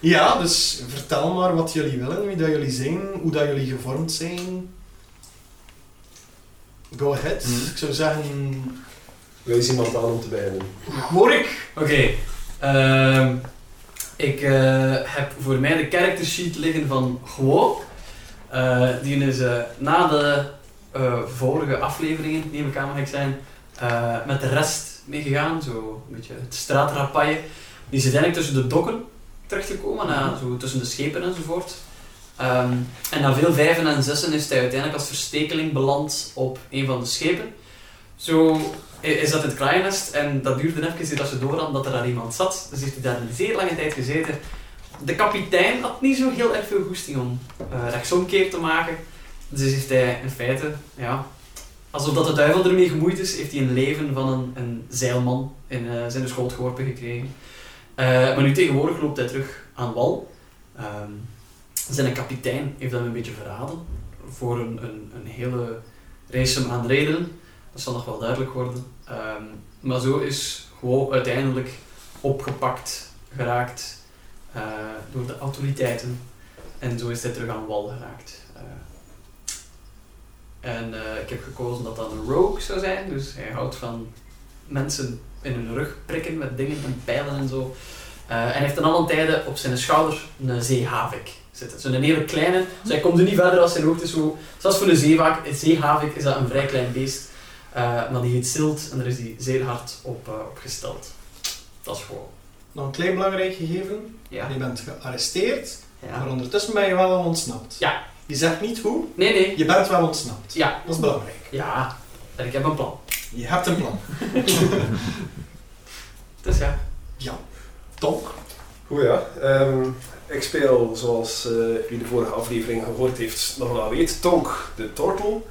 Ja, dus vertel maar wat jullie willen, wie dat jullie zijn, hoe dat jullie gevormd zijn. Go ahead. Mhm. Ik zou zeggen, Wees iemand aan om te beginnen. hoor ik? Oké, ehm, ik eh, heb voor mij de character sheet liggen van Guo. Eh, die is eh, na de eh, vorige afleveringen, die in mijn kamer zijn, eh, met de rest meegegaan. Zo een beetje het straatrapaille. Die is uiteindelijk tussen de dokken terechtgekomen, na, zo tussen de schepen enzovoort. Ehm, en na veel vijven en zessen is hij uiteindelijk als verstekeling beland op een van de schepen. Zo i- is dat in het kraaiennest en dat duurde even eer dat ze door dat er daar iemand zat. Dus heeft hij daar een zeer lange tijd gezeten. De kapitein had niet zo heel erg veel goesting om eh rechtsomkeer te maken. Dus heeft hij in feite, ja, alsof dat de duivel ermee gemoeid is, heeft hij een leven van een, een zeilman in eh, zijn schoot geworpen gekregen. Eh, maar nu tegenwoordig loopt hij terug aan wal. Ehm, zijn kapitein heeft dat een beetje verraden voor een, een, een hele race hem aan redenen. Dat zal nog wel duidelijk worden. Ehm, maar zo is gewoon uiteindelijk opgepakt geraakt eh, door de autoriteiten. En zo is hij terug aan wal geraakt. Eh, en eh, ik heb gekozen dat dat een rogue zou zijn. Dus hij houdt van mensen in hun rug prikken met dingen en pijlen en zo. Eh, en hij heeft dan alle tijden op zijn schouder een zeehavik zitten. Zo'n hele kleine. Dus hij komt er niet verder als zijn hoogte. Zo. Zelfs voor een zeevaak- zeehavik is dat een vrij klein beest. Eh, maar die heet Silt en daar is die zeer hard op, eh, op gesteld. Dat is gewoon. Nog een klein belangrijk gegeven. Ja. Je bent gearresteerd, maar ja. ondertussen ben je wel al ontsnapt. Ja. Je zegt niet hoe, Nee, nee. je bent wel ontsnapt. Ja. Dat is belangrijk. Ja. En ik heb een plan. Je hebt een plan. Dus ja. Tonk. Goed ja, Ehm, ik speel zoals eh u de vorige aflevering gehoord heeft, nog wel weet, Tonk de Tortel.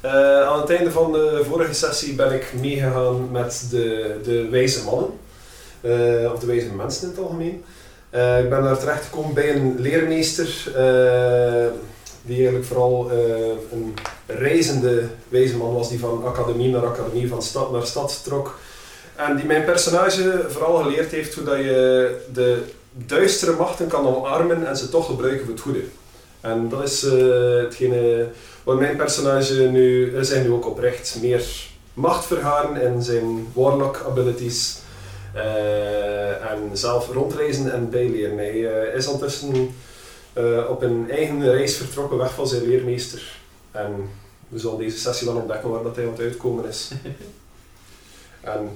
Eh, aan het einde van de vorige sessie ben ik meegegaan met de, de wijze mannen, Eh, of de wijze mensen in het algemeen. Eh, ik ben daar terecht gekomen bij een leermeester eh, die eigenlijk vooral eh, een reizende wijze man was die van academie naar academie, van stad naar stad trok. En die mijn personage vooral geleerd heeft hoe dat je de duistere machten kan omarmen en ze toch gebruiken voor het goede. En dat is eh, hetgene waar mijn personage nu, eh, zijn nu ook oprecht meer macht vergaren in zijn warlock abilities. eh, en zelf rondreizen en bijleren. Hij eh, is ondertussen eh, op een eigen reis vertrokken, weg van zijn leermeester. En we zullen deze sessie wel ontdekken waar dat hij aan het uitkomen is. en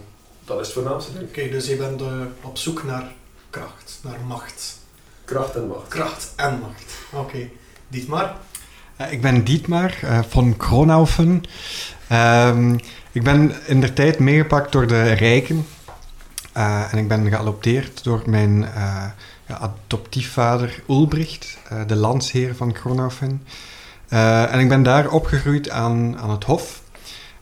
dat is het voornaamste. Oké, dus je bent eh, op zoek naar kracht, naar macht. Kracht en macht. Kracht en macht. Oké. Dietmar. Eh, Ik ben Dietmar eh, van Kronaufen. Ehm, ik ben in der tijd meegepakt door de rijken. Eh, en ik ben geadopteerd door mijn eh, ja, adoptiefvader Ulbricht, eh, de landsheer van Kronaufen. Eh, en ik ben daar opgegroeid aan, aan het hof.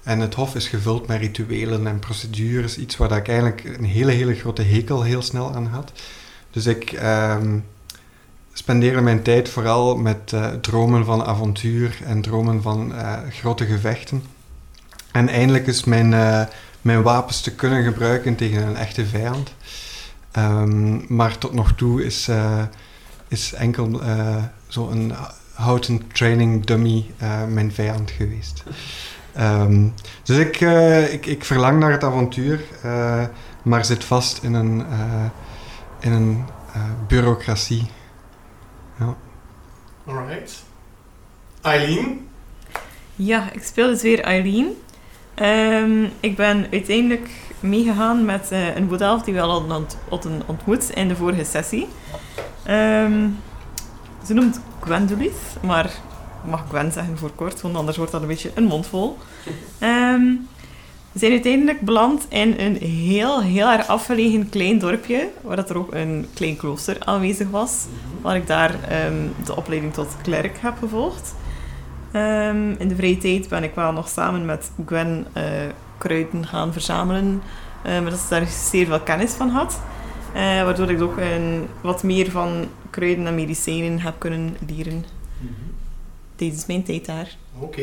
En het hof is gevuld met rituelen en procedures, iets waar dat ik eigenlijk een hele, hele grote hekel heel snel aan had. Dus ik... ehm, spendeerde mijn tijd vooral met eh, dromen van avontuur en dromen van eh, grote gevechten. En eindelijk is mijn, eh, mijn wapens te kunnen gebruiken tegen een echte vijand. Ehm, maar tot nog toe is, eh, is enkel eh, zo'n houten training dummy eh, mijn vijand geweest. Ehm, dus ik, eh, ik, ik verlang naar het avontuur, eh, maar zit vast in een, eh, in een eh, bureaucratie. Alright. Eileen. Ja, ik speel dus weer Eileen. Ehm, ik ben uiteindelijk meegegaan met eh, een modelf die we al hadden ont- hadden ontmoet in de vorige sessie. Ehm, ze noemt Gwendolith, maar ik mag Gwen zeggen voor kort, want anders wordt dat een beetje een mondvol. Ehm, we zijn uiteindelijk beland in een heel, heel erg afgelegen klein dorpje, waar dat er ook een klein klooster aanwezig was, waar ik daar ehm, de opleiding tot klerk heb gevolgd. Ehm, in de vrije tijd ben ik wel nog samen met Gwen eh, kruiden gaan verzamelen. eh, maar dat ze daar zeer veel kennis van had. Eh, waardoor ik ook een, wat meer van kruiden en medicijnen heb kunnen leren Mhm. tijdens mijn tijd daar. Oké.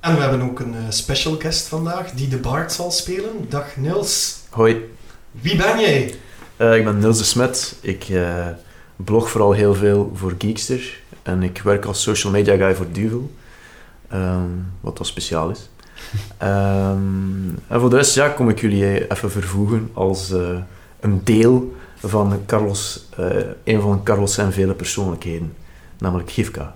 En we hebben ook een eh, special guest vandaag die de Bard zal spelen. Dag Niels. Hoi, Wie ben jij? eh, ik ben Niels de Smet. Ik eh, blog vooral heel veel voor Geekster. En ik werk als social media guy voor Duvel. Ehm, wat wel speciaal is. Ehm, en voor de rest ja, kom ik jullie eh, even vervoegen als eh, een deel van Carlos, eh, een van Carlos zijn vele persoonlijkheden. Namelijk Gifka.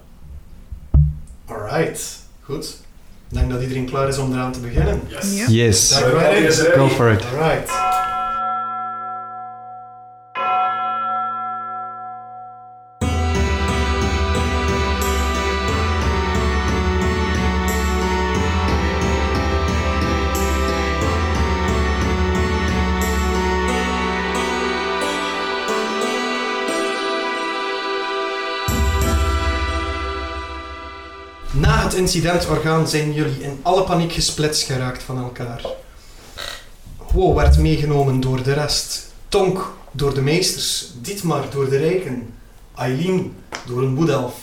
Alright, goed. Ik denk dat iedereen klaar is om eraan te beginnen. Ja. Yes, Daar waren we. go for it. Alright. Na het incidentorgaan zijn jullie in alle paniek gesplitst geraakt van elkaar. Huo werd meegenomen door de rest. Tonk door de meesters. Dietmar door de rijken. Aileen door een boedelf.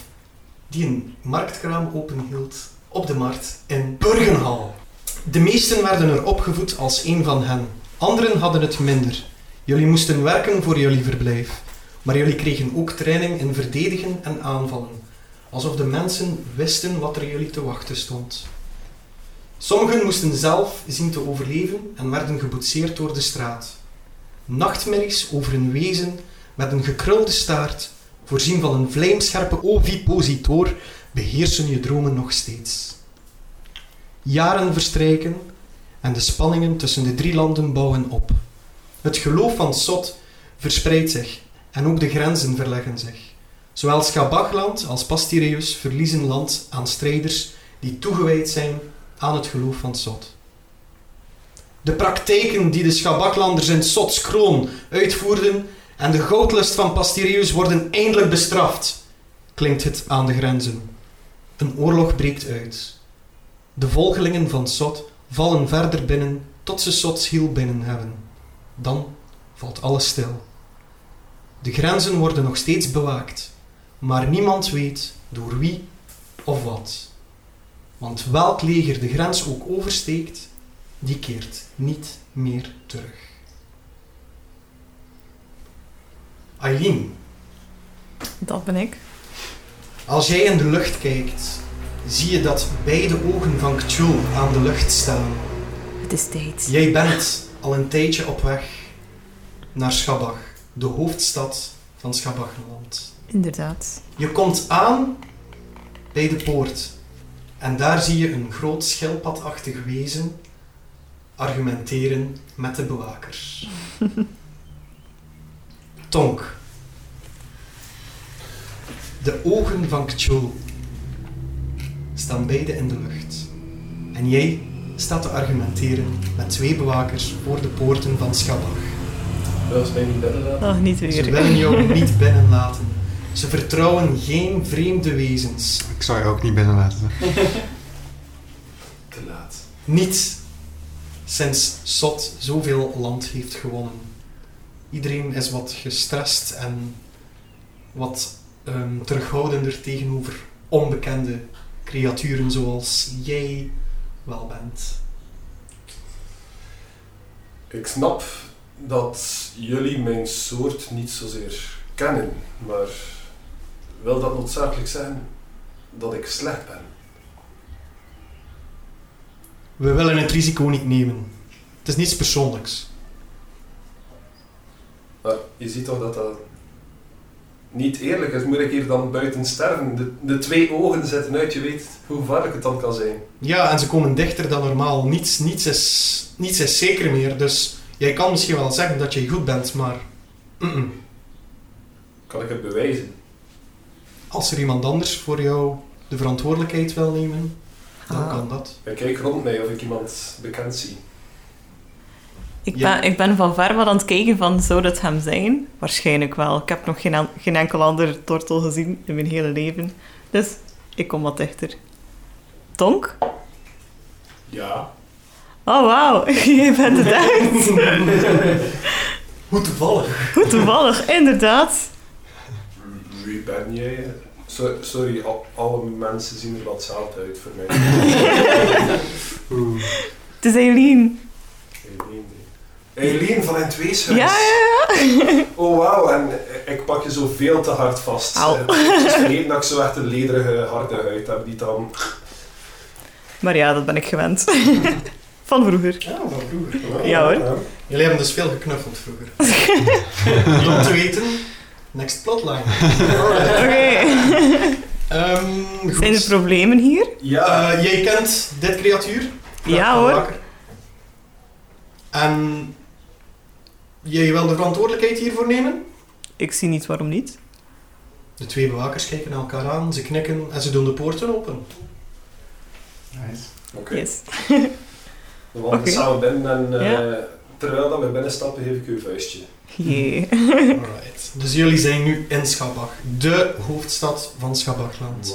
Die een marktkraam openhield op de markt in Burgenhal. De meesten werden er opgevoed als een van hen. Anderen hadden het minder. Jullie moesten werken voor jullie verblijf. Maar jullie kregen ook training in verdedigen en aanvallen. Alsof de mensen wisten wat er jullie te wachten stond. Sommigen moesten zelf zien te overleven en werden geboetseerd door de straat. Nachtmerries over een wezen met een gekrulde staart, voorzien van een vlijmscherpe ovipositor, beheersen je dromen nog steeds. Jaren verstrijken en de spanningen tussen de drie landen bouwen op. Het geloof van Sot verspreidt zich en ook de grenzen verleggen zich. Zowel Schabachland als Pastireus verliezen land aan strijders die toegewijd zijn aan het geloof van Sot. De praktijken die de Schabaklanders in Sots kroon uitvoerden en de goudlust van Pastireus worden eindelijk bestraft, klinkt het aan de grenzen. Een oorlog breekt uit. De volgelingen van Sot vallen verder binnen tot ze Sots hiel binnen hebben. Dan valt alles stil. De grenzen worden nog steeds bewaakt, maar niemand weet door wie of wat. Want welk leger de grens ook oversteekt, die keert niet meer terug. Aileen, Dat ben ik. als jij in de lucht kijkt, zie je dat beide ogen van Cthulhu aan de lucht staan. Het is tijd. Jij bent al een tijdje op weg naar Schabach, de hoofdstad van Schabachland. Inderdaad. Je komt aan bij de poort. En daar zie je een groot schildpadachtig wezen argumenteren met de bewakers. Tonk. De ogen van Kjol staan beide in de lucht. En jij staat te argumenteren met twee bewakers voor de poorten van Schabach. Dat is mij niet inderdaad. Oh, niet Ze weer. willen jou niet binnenlaten. Ze vertrouwen geen vreemde wezens. Ik zou je ook niet binnenlaten. Te laat. Niet sinds Sot zoveel land heeft gewonnen. Iedereen is wat gestrest en wat ehm, terughoudender tegenover onbekende creaturen zoals jij wel bent. Ik snap dat jullie mijn soort niet zozeer kennen, maar wil dat noodzakelijk zeggen dat ik slecht ben? We willen het risico niet nemen. Het is niets persoonlijks. Maar je ziet toch dat dat niet eerlijk is. Moet ik hier dan buiten sterven? De, de twee ogen zetten uit, je weet hoe gevaarlijk het dan kan zijn. Ja, en ze komen dichter dan normaal. Niets, niets, is, niets is zeker meer, dus jij kan misschien wel zeggen dat je goed bent, maar... mm-mm. Kan ik het bewijzen? Als er iemand anders voor jou de verantwoordelijkheid wil nemen, dan Ah. kan dat. Ik kijk rond mij of ik iemand bekend zie. Ik Ja. ben, ik ben van ver wat aan het kijken van, zou dat hem zijn? Waarschijnlijk wel. Ik heb nog geen, an- geen enkel ander tortel gezien in mijn hele leven. Dus ik kom wat dichter. Tonk? Ja. Oh, wauw. Jij bent het echt. Hoe Oh, toevallig. Goed toevallig, inderdaad. Wie ben jij? So- sorry, al- alle mensen zien er wat zaad uit voor mij. Het is Eileen. Geen idee. Eileen van N2 is Ja, ja, ja. Oh wauw, en ik pak je zo veel te hard vast. Au. Eh, Het is vergeten dat ik zo echt een lederige, harde huid heb die dan... Maar ja, dat ben ik gewend. Van vroeger. Ja, van vroeger. Ja, hoor. Jullie hebben dus veel geknuffeld vroeger. Om te weten, next plotline. Oké. Alright. Ehm, goed. Zijn er problemen hier? Ja, Eh, jij kent dit creatuur. Ja, hoor. Wakker. En jij wil de verantwoordelijkheid hiervoor nemen? Ik zie niet waarom niet. De twee bewakers kijken naar elkaar aan, ze knikken en ze doen de poorten open. Nice. oké. Yes. We wandelen Oké. samen binnen en eh, terwijl dat we binnenstappen geef ik u een vuistje. Jee. Alright. Dus jullie zijn nu in Schabach, de hoofdstad van Schabachland.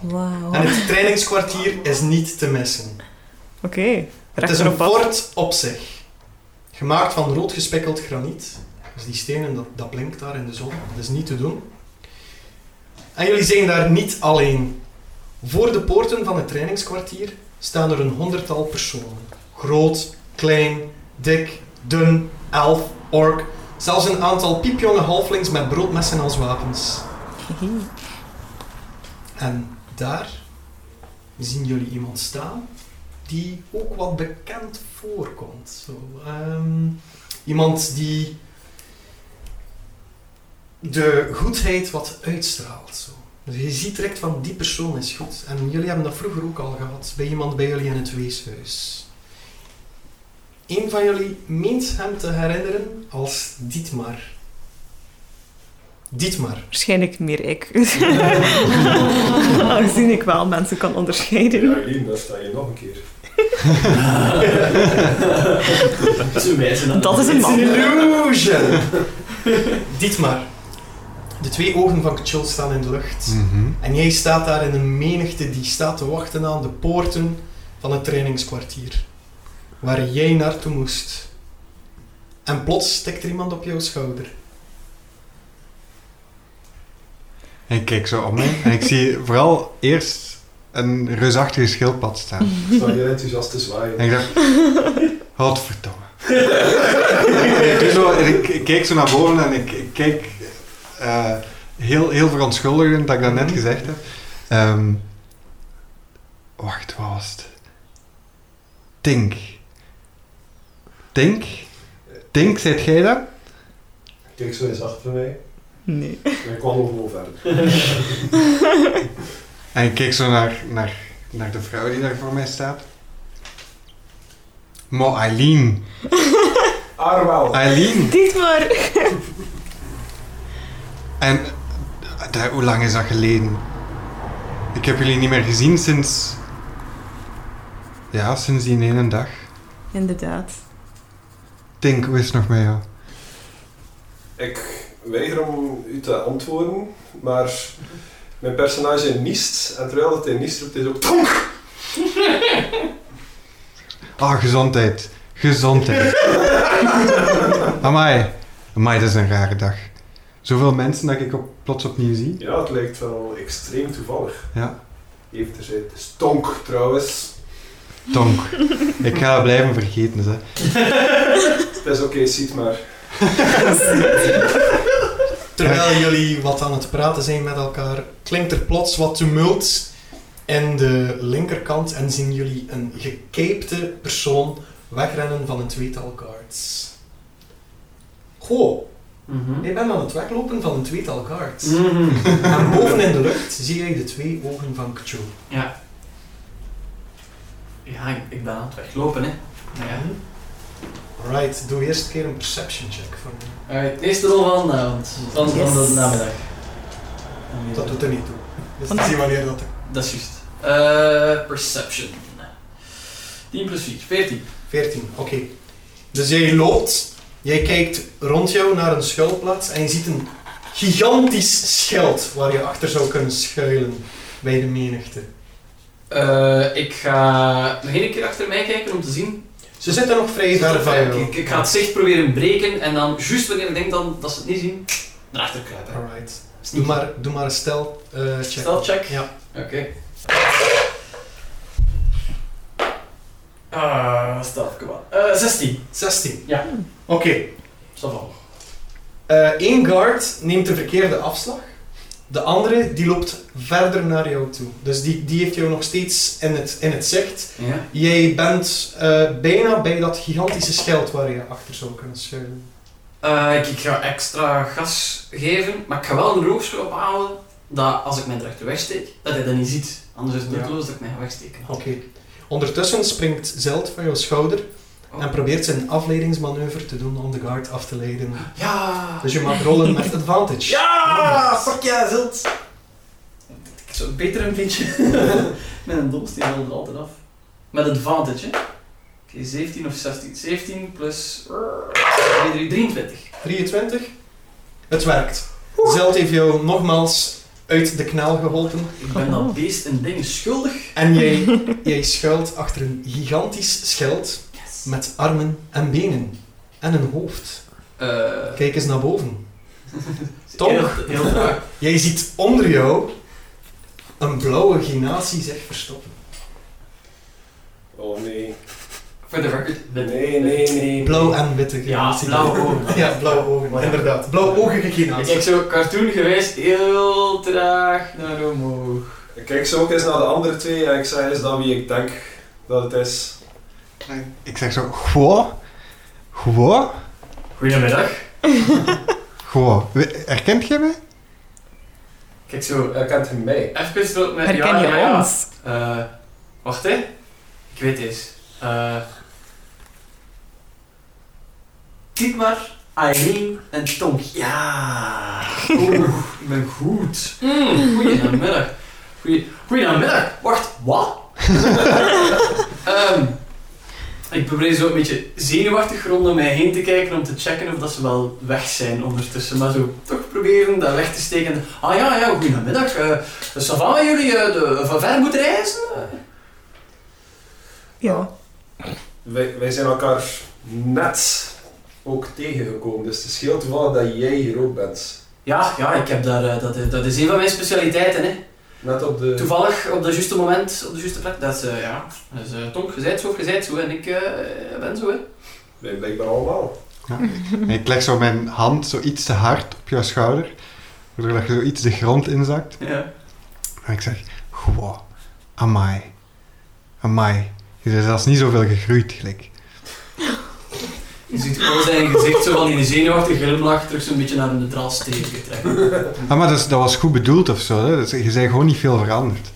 Wow. Wauw. En Oké. het trainingskwartier is niet te missen. Het is Rechter een op pad. fort op zich. Gemaakt van rood gespikkeld graniet. Dus die stenen, dat, dat blinkt daar in de zon. Dat is niet te doen. En jullie zijn daar niet alleen. Voor de poorten van het trainingskwartier staan er een honderdtal personen. Groot, klein, dik, dun, elf, ork. Zelfs een aantal piepjonge halflings met broodmessen als wapens. Hehe. En daar zien jullie iemand staan die ook wat bekend voorkomt. Zo, ehm, iemand die de goedheid wat uitstraalt. Zo. Dus je ziet direct van die persoon is goed. En jullie hebben dat vroeger ook al gehad bij iemand bij jullie in het weeshuis. Een van jullie meent hem te herinneren als Dietmar. Dietmar. Waarschijnlijk meer ik. Aangezien ik wel mensen kan Ja, onderscheiden. Eileen, daar sta je nog een keer. Ze wijzen naar Dat is een It's an man. illusion! Dietmar, de twee ogen van Kjol staan in de lucht. Hmm. Mhm. En jij staat daar in een menigte die staat te wachten aan de poorten van het trainingskwartier. Waar jij naartoe moest. En plots stikt er iemand op jouw schouder. En ik kijk zo om me en ik zie vooral eerst een reusachtige schildpad staan. Sta je enthousiast te zwaaien. En ik dacht, godverdomme. ik, doe zo, en ik, ik keek zo naar boven en ik, ik keek eh, heel, heel verontschuldigend dat ik dat net gezegd heb. Ehm, wacht, wat was het? Tink. Tink? Tink, zit jij dat? Kijk zo eens achter mij. Nee. En ik kwam gewoon verder. En ik keek zo naar, naar, naar de vrouw die daar voor mij staat. Mo Eileen. Arwel. Eileen. Dit maar. En eh, daar- hoe lang is dat geleden? Ik heb jullie niet meer gezien sinds. Ja, sinds die ene dag. Inderdaad. Tink, hoe is het nog met jou? Ik weiger om u te antwoorden, maar mijn personage niest. En terwijl dat hij niest roept, is ook tonk. Ah, gezondheid. Gezondheid. Amai. Amai, dat is een rare dag. Zoveel mensen dat ik op, plots opnieuw zie. Ja, het lijkt wel extreem toevallig. Ja. Even terzijde. Het is tonk trouwens. Tonk. Ik ga dat blijven vergeten, hè. Het is oké, ziet maar. Terwijl jullie wat aan het praten zijn met elkaar, klinkt er plots wat tumult in de linkerkant en zien jullie een gekeepte persoon wegrennen van een tweetal guards. Goh, Mhm. jij bent aan het weglopen van een tweetal guards. Mhm. En boven in de lucht zie jij de twee ogen van Kcho. Ja. Ja, ik, ik ben aan het weglopen, hè. Nou ja. Alright, doe eerst een keer een perception check voor me. Alright, eerste rol van de avond. Van, Yes. van de namiddag. Dat doet er niet toe. Dus Want- zie wanneer dat... Dat is juist. Eh, perception. 10 plus 4, 14. 14, oké. Dus jij loopt, jij kijkt rond jou naar een schuilplaats en je ziet een gigantisch schild waar je achter zou kunnen schuilen bij de menigte. Eh, ik ga nog één keer achter mij kijken om te zien. Ze zitten nog vrij ver van ik, jou. eh, ik, ik ga het zicht proberen breken en dan, juist wanneer ik denk dan, dat ze het niet zien, erachter kruipen. Alright. Doe maar, doe maar een stel eh, check. Stel check. Ja. Oké. Ah, we stellen kwaad. Eh 16. 16. Ja. Oké. Stop al. Eh, één guard neemt de verkeerde afslag. De andere die loopt verder naar jou toe. Dus die, die heeft jou nog steeds in het, in het zicht. Ja. Jij bent eh, bijna bij dat gigantische schild waar je achter zou kunnen schuilen. Eh, ik, ik ga extra gas geven, maar ik ga wel een rooster ophouden dat als ik mijn rechter wegsteek, dat hij dat niet ziet. Anders is het Ja. nutteloos dat ik mij ga wegsteken. Oké. Ondertussen springt Zeld van jouw schouder Oh. en probeert zijn afleidingsmanoeuvre te doen om de guard af te leiden. Ah. Ja! Dus je mag rollen met advantage. Ja! Fuck ja, zult! Ik zou beter een beetje. Met een domsteen rolde er altijd af. Met advantage, hè? Oké, 17 of 16. 17 plus. eh, 23. 23. 23. Het werkt. Zeld heeft jou nogmaals uit de knel geholpen. Ik ben dat beest en dingen schuldig. En jij, jij schuilt achter een gigantisch schild Yes. met armen en benen. En een hoofd. Eh, Kijk eens naar boven. Tom? Heel, heel graag. Jij ziet onder jou een blauwe ginatie zich verstoppen. Oh nee. Voor de record. de- Nee, nee, nee. Blauw en witte Ja, ginatie. blauwe ogen. Ja, blauwe ogen, inderdaad. Blauwogige Ik ginatie. kijk zo cartoongewijs heel traag naar omhoog. Ik kijk zo ook eens naar de andere twee en ik zeg eens dat wie ik denk dat het is. Ik zeg zo, goh, goh, Goedemiddag. goh. We- Herkent jij mij? Kijk zo. eh, Hij kent hem mij. Even tot met. Herken ja, je ja, ja. ons? Eh, wacht hè. Ik weet eens. Eh Dietmar, Aileen en Tonk. Ja. Oeh, ik ben goed. Mm, goedenamiddag. Goeie, goedenamiddag. Wacht, wat? Ehm, ik probeer zo een beetje zenuwachtig rond om mij heen te kijken om te checken of dat ze wel weg zijn ondertussen. Maar zo toch proberen dat weg te steken. Ah ja, ja, goedenamiddag. Eh dus ça va met jullie eh, de, van ver moeten reizen? Ja. Wij, wij zijn elkaar net ook tegengekomen, dus het is heel toevallig dat jij hier ook bent. Ja, ja, ik heb daar, eh, dat, is- dat is een van mijn specialiteiten. Hè. Net op de... Toevallig op het juiste moment, op de juiste plek. Dat is, eh, ja, dat is, eh, Tonk, je zijt zo, je zijt zo en ik eh, ben zo. Hè. Wij blijkbaar allemaal. En ik leg zo mijn hand zo iets te hard op jouw schouder, waardoor dat je zo iets de grond inzakt. Ja. En ik zeg, goh, amai, amai. Je bent zelfs niet zoveel gegroeid, gelijk. Je ziet gewoon zijn gezicht zo van die zenuwachtige glimlach terug zo'n beetje naar een neutraal steekje trekken. Ah, maar dus, dat was goed bedoeld of zo, hè? Dus, je bent gewoon niet veel veranderd.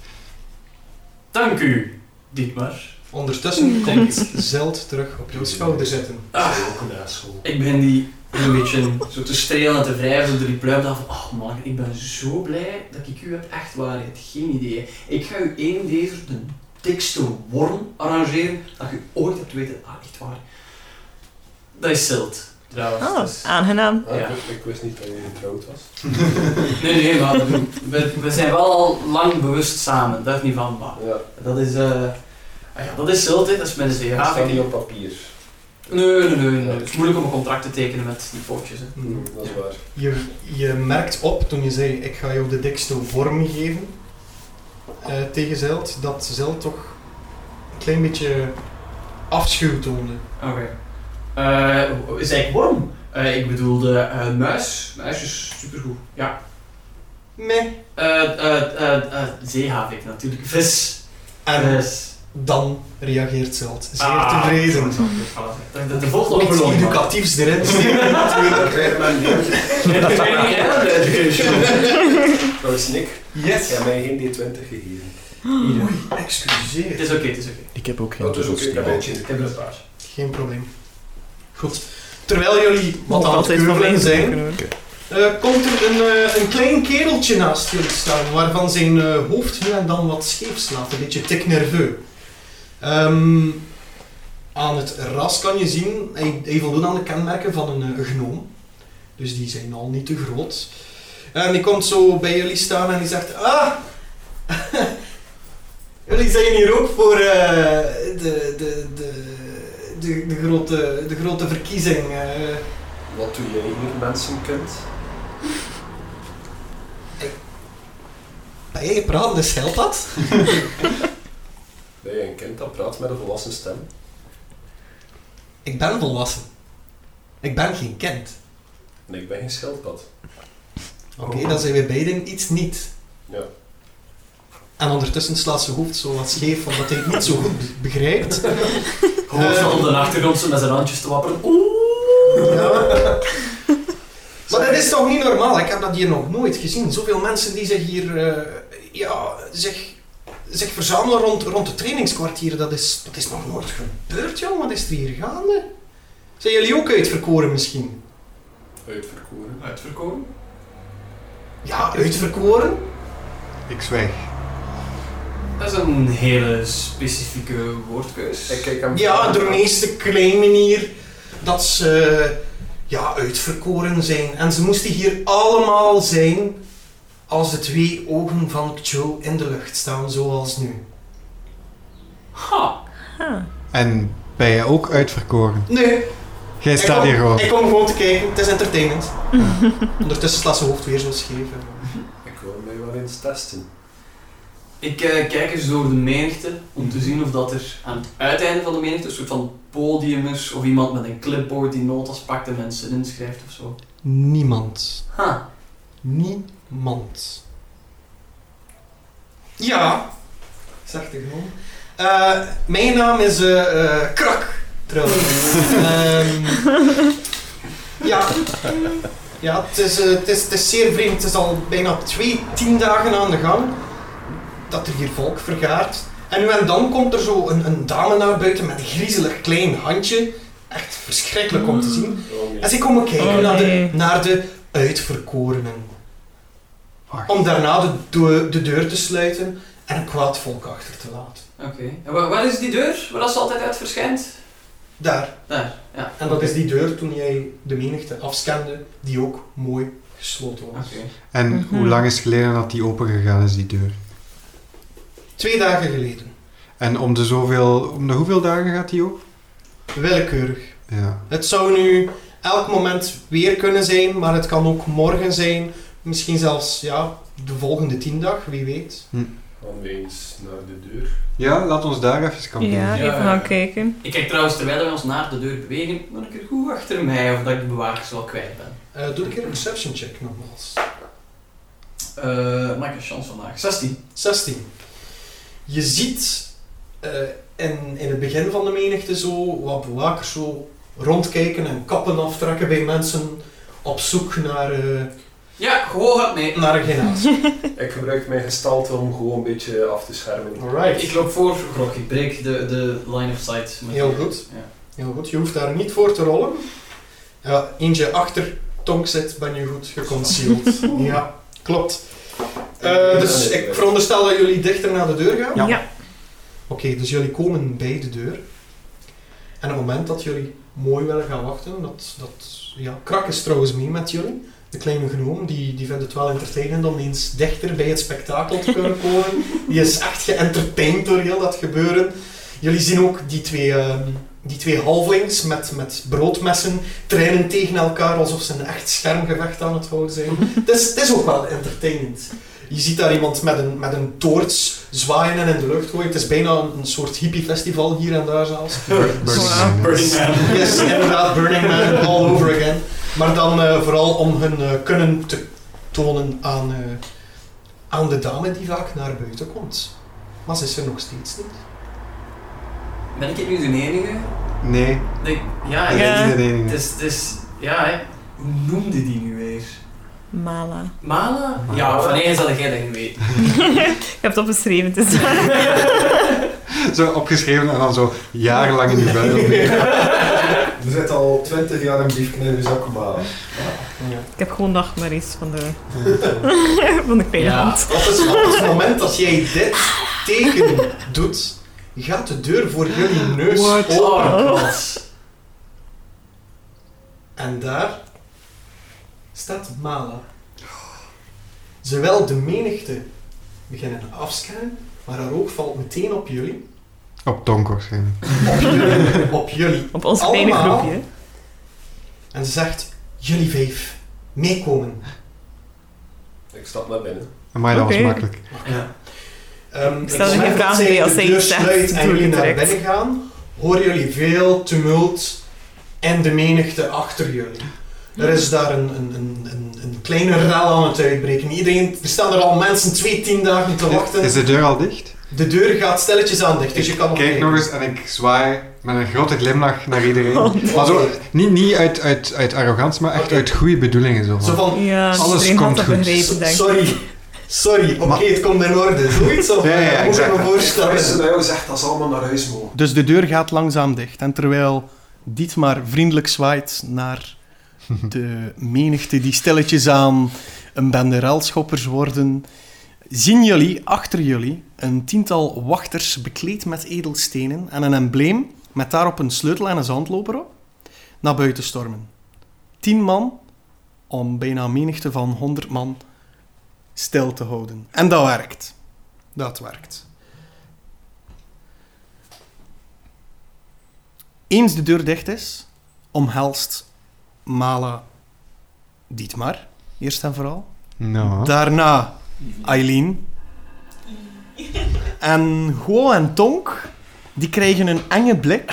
Dank u, Dietmar. Ondertussen komt Zeld terug op jouw schouder zitten. Ah, Ook een asshole. ik ben die een beetje zo te strelen en te wrijven zo door die pluim af. Oh man, ik ben zo blij dat ik u heb. Echt waar, je hebt geen idee. Ik ga u één deze de dikste worm arrangeren dat je ooit hebt weten. Ah, echt waar. Dat is Silt, trouwens. Oh, Dus- aangenaam. Ah, Ja. ik, ik wist niet dat je getrouwd was. Dus- Nee, nee, maar we, we zijn wel al lang bewust samen. Dat is niet van, maar Ja, dat is... eh, ah ja, dat is Silt, hè. dat is mijn dat zeehaaf. staat niet Nee, op papier. nee, nee, nee. Het is moeilijk om een contract te tekenen met die pootjes. Hè. Hmm. Dat is waar. Je, je merkt op toen je zei: Ik ga jou de dikste vorm geven eh, tegen Zeld, dat Zeld toch een klein beetje afschuw toonde. Oké. Eh zei ik worm? Eh, ik bedoelde eh muis. Muis is supergoed. Ja. Meh. Eh eh eh eh zeehavik natuurlijk. Vis. En Vis. dan reageert Zeld. Zeer Eh. Ah, tevreden. dat is wel goed. Dat- dat- De volgende Iets opgelopen. Ik educatiefs erin. steken, Dan natuurlijk. krijg je mijn deur. weet niet, hè, de education. Trouwens, Nick, Yes. jij hebt mij geen D20 gegeven. Oei, Het excuseer. is oké, het is oké. Ik heb dus ook geen Dat Oh, is ook een toetsenbord. beetje in de Ik heb een kast. paar. Geen probleem. Goed. Terwijl jullie wat Nog aan het altijd keuvelen problemen zijn, kunnen hoor. Eh, komt er een, eh, een klein kereltje naast jullie staan, waarvan zijn eh, hoofd nu en dan wat scheef slaat, een beetje tik nerveus. Ehm, aan het ras kan je zien, hij, hij voldoet aan de kenmerken van een eh, gnoom. Dus die zijn al niet te groot. En die komt zo bij jullie staan en die zegt, ah, jullie zijn hier ook voor eh, de, de, de, de, de, grote, de grote verkiezing. eh." Wat doe jij hier, mensenkind? Ben jij een pratende schildpad? Ben jij een kind dat praat met een volwassen stem? Ik ben volwassen. Ik ben geen kind. Nee, ik ben geen schildpad. Oké, dan zijn we beiden iets niet. Ja. En ondertussen slaat zijn hoofd zo wat scheef, omdat hij het niet zo goed be- begrijpt. Hoort ze Eh. op de achtergrond zo met zijn handjes te wapperen. Oeh! Maar dat is toch niet normaal? Ik heb dat hier nog nooit gezien. Zoveel mensen die zich hier eh, ja, zich, zich verzamelen rond, rond het trainingskwartier. Dat is, dat is nog nooit gebeurd, jong. Wat is er hier gaande? Zijn jullie ook uitverkoren misschien? Uitverkoren. Uitverkoren? Ja, uitverkoren? Ik zwijg. Dat is een hele specifieke woordkeus. Ik kijk hem Ja, de meeste claimen hier dat ze eh, ja, uitverkoren zijn. En ze moesten hier allemaal zijn als de twee ogen van Cho in de lucht staan, zoals nu. Ha! Huh. En ben jij ook uitverkoren? Nee, Jij Ik staat kom- hier gewoon. Ik kom gewoon te kijken, het is entertainment. Ondertussen slaat zijn hoofd weer zo scheef. Ik wil mij wel eens testen. Ik eh, kijk eens door de menigte om te zien of dat er aan het uiteinde van de menigte een soort van podium is of iemand met een clipboard die notas pakt en mensen inschrijft of zo. Niemand. Ha! Niemand. Ja, zegt de gewoon. Eh, mijn naam is eh, eh, Krak, trouwens. Ehm, ja. Ja, het is, eh, het, is, het is zeer vreemd. Het is al bijna twee, tien dagen aan de gang dat er hier volk vergaart. En nu en dan komt er zo een, een dame naar buiten met een griezelig klein handje. Echt verschrikkelijk om te zien. Oh, nee. En ze komen kijken Mm. Oh, naar, de, nee. naar de uitverkorenen. Wacht. Om daarna de, do- de deur te sluiten en een kwaad volk achter te laten. Oké. En wa- waar is die deur waar dat ze altijd uit verschijnt? Daar. Daar, ja. En dat is die deur toen jij de menigte afscande, die ook mooi gesloten was. Oké. En Mhm. hoe lang is het geleden dat die open gegaan is, die deur? Twee dagen geleden. En om de zoveel, om de hoeveel dagen gaat die open? Willekeurig. Ja. Het zou nu elk moment weer kunnen zijn, maar het kan ook morgen zijn. Misschien zelfs ja, de volgende tien dag, wie weet. Gaan we eens naar de deur. Ja, laat ons daar even kamperen. Ja, even gaan kijken. Ik kijk trouwens terwijl wij ons naar de deur bewegen, maar ik er goed achter mij of dat ik de bewakers wel kwijt ben. Eh, doe een keer een perception check nogmaals. Eh, maak een chance vandaag. 16. 16. Je ziet eh, in, in het begin van de menigte zo wat bewakers zo rondkijken en kappen aftrekken bij mensen op zoek naar, eh Ja, gewoon gaat mee. naar een genaas. Ik gebruik mijn gestalte om gewoon een beetje af te schermen. Alright. Ik loop voor, Grok, ik breek de, de line of sight. Met Heel goed. Ja. Heel goed, je hoeft daar niet voor te rollen. Ja, eentje achter Tonk zit, ben je goed geconcealed. ja, klopt. Eh, dus ik veronderstel dat jullie dichter naar de deur gaan. Ja. Oké, dus jullie komen bij de deur. En op het moment dat jullie mooi willen gaan wachten, dat, dat ja, krak is trouwens mee met jullie. De kleine gnoom, die, die vindt het wel entertainend om eens dichter bij het spektakel te kunnen komen. Die is echt geëntertained door heel dat gebeuren. Jullie zien ook die twee, ehm, die twee halflings met, met broodmessen trainen tegen elkaar alsof ze een echt schermgevecht aan het houden zijn. het, is, het is ook wel entertainend. Je ziet daar iemand met een, met een toorts zwaaien en in de lucht gooien. Het is bijna een, een soort hippiefestival hier en daar zelfs. Bur- Burning Man. Yes, inderdaad, Burning Man all over again. Maar dan eh, vooral om hun eh, kunnen te tonen aan, eh, aan de dame die vaak naar buiten komt. Maar ze is er nog steeds niet. Ben ik nu de enige? Nee, Nee, ja, dat Ja. is niet de enige. Het, is, het is... Ja, hè. Hoe noemde die nu weer? Mala. Mala? Ja, van eigen zal jij dat niet weten. Ik heb het opgeschreven, dus het is waar. Zo opgeschreven en dan zo jarenlang in je vuil. Er zit al 20 jaar een briefje in uw zak, maar... Ik heb gewoon nachtmerries van de... van de vijand. Dat is op het moment dat jij dit teken doet, gaat de deur voor jullie neus What? open. Oh, god. En daar staat Mala. Zowel de menigte beginnen afscannen, maar haar oog valt meteen op jullie. Op donker waarschijnlijk. Op jullie. Op jullie. Op ons kleine Allemaal. groepje. En ze zegt, jullie vijf, meekomen. Ik stap naar binnen. Maar dat was Oké. makkelijk. Ja. Ehm, Ik op het stel er geen moment vragen dat bij zij als de zij deur iets zegt, sluit en doe jullie ik naar direct. binnen gaan, horen jullie veel tumult en de menigte achter jullie. Er is daar een, een, een, een, een kleine rel aan het uitbreken. Iedereen, er staan er al mensen twee, tien dagen te wachten. Is de deur al dicht? De deur gaat stilletjes aan dicht, dus je kan nog Kijk kijken. nog eens en ik zwaai met een grote glimlach naar iedereen. Oh, nee. Maar zo, niet niet uit, uit, uit arrogantie, maar echt Oké. uit goede bedoelingen. Zo. van, Zo van, Ja, Alles iedereen had komt dat goed. begrepen, denk ik. sorry, sorry, oké, Maar- het komt in orde. Zoiets of Ja, ja, eh, moet ik exact. me Daar is voorstellen. het bij jou gezegd dat ze allemaal naar huis mogen. Dus de deur gaat langzaam dicht. En terwijl Dietmar vriendelijk zwaait naar de menigte die stilletjes aan een bende railschoppers worden, zien jullie achter jullie een tiental wachters bekleed met edelstenen en een embleem met daarop een sleutel en een zandloper op naar buiten stormen. Tien man om bijna een menigte van 100 man stil te houden. En dat werkt. Dat werkt. Eens de deur dicht is, omhelst Mala Dietmar, eerst en vooral. nou, Daarna Eileen. En Guo en Tonk, die krijgen een enge blik.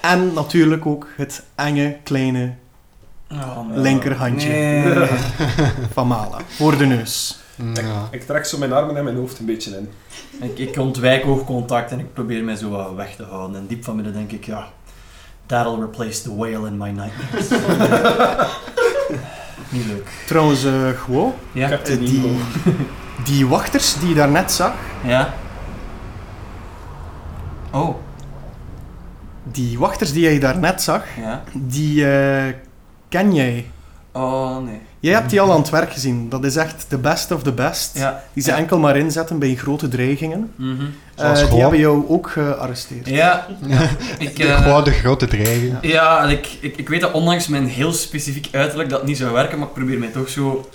En natuurlijk ook het enge kleine linkerhandje van Mala. Voor de neus. nou. Ik trek zo mijn armen en mijn hoofd een beetje in. Ik, ik ontwijk oogcontact en ik probeer mij zo wat weg te houden. En diep van binnen denk ik, ja, that'll replace the whale in my nightmares. Niet leuk. Trouwens, eh Guo, Ja? eh, die, die wachters die je daarnet zag, Ja? Oh, die wachters die jij daarnet zag, ja. die eh, ken jij Oh, nee. Jij hebt die al aan het werk gezien. Dat is echt de best of the best. Ja. Die ze ja. enkel maar inzetten bij grote dreigingen. Mhm. Zoals Eh, die gewoon. hebben jou ook gearresteerd. Ja, ik... eh, Gewoon de grote dreiging. Ja, en ik, ik, ik weet dat ondanks mijn heel specifiek uiterlijk dat niet zou werken, maar ik probeer mij toch zo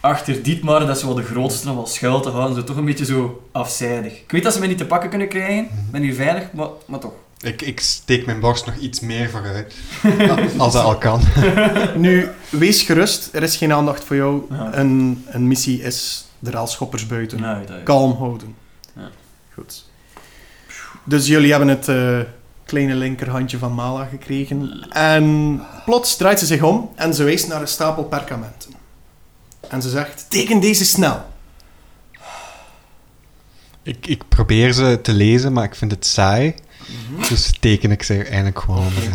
achter Dietmar, dat is wel de grootste, nog wel schuil te houden, zo toch een beetje zo afzijdig. Ik weet dat ze mij niet te pakken kunnen krijgen, ik ben hier veilig, maar, maar toch. Ik, ik steek mijn borst nog iets meer vooruit. als dat al kan. Nu, wees gerust. Er is geen aandacht voor jou. Ja. Een, een missie is de raalschoppers buiten. Nou, dat is- Kalm houden. Ja. Goed. Dus jullie hebben het eh, kleine linkerhandje van Mala gekregen. En plots draait ze zich om en ze wijst naar een stapel perkamenten. En ze zegt, teken deze snel. Ik, ik probeer ze te lezen, maar ik vind het saai. Dus teken ik ze eigenlijk gewoon. eh.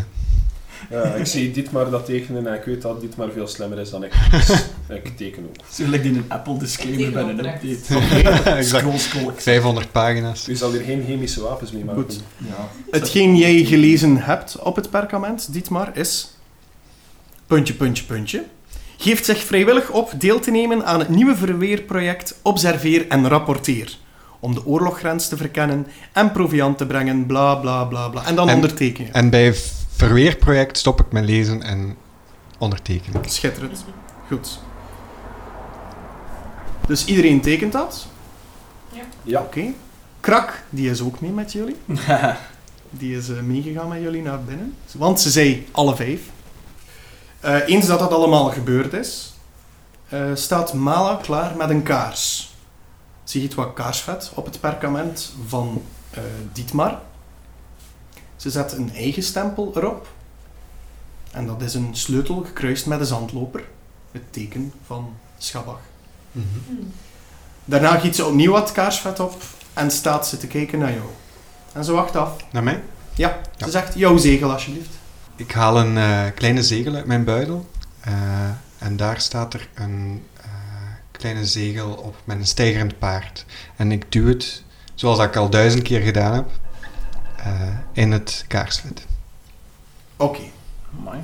Ja, ik zie Dietmar dat tekenen en ik weet dat Dietmar veel slimmer is dan ik. Dus ik teken ook. Zo lijkt die een Apple disclaimer bij een Tegenopdracht. update. exact. Scroll, scroll. 500 pagina's. U zal hier geen chemische wapens mee maken. Goed. Ja. Hetgeen jij gelezen hebt op het perkament, Dietmar, is... Puntje, puntje, puntje. Geeft zich vrijwillig op deel te nemen aan het nieuwe verweerproject Observeer en Rapporteer. Om de oorloggrens te verkennen en proviant te brengen, bla bla bla bla. En dan En- onderteken je. En bij verweerproject stop ik mijn lezen en onderteken. ik. Schitterend. Goed. Dus iedereen tekent dat? Ja. Ja. Oké. Krak, die is ook mee met jullie. Die is eh, meegegaan met jullie naar binnen. Want ze zei alle vijf. Eh, eens dat dat allemaal gebeurd is, eh, staat Mala klaar met een kaars. Ze giet wat kaarsvet op het perkament van eh, Dietmar. Ze zet een eigen stempel erop. En dat is een sleutel gekruist met een zandloper. Het teken van Schabach. Daarna giet ze opnieuw wat kaarsvet op en staat ze te kijken naar jou. En ze wacht af. Naar mij? Ja. Ze zegt, jouw zegel alsjeblieft. Ik haal een eh, kleine zegel uit mijn buidel. eh, en daar staat er een eh, kleine zegel op met een stijgerend paard. En ik duw het, zoals ik al duizend keer gedaan heb, eh, in het kaarsvet. Oké. Amai.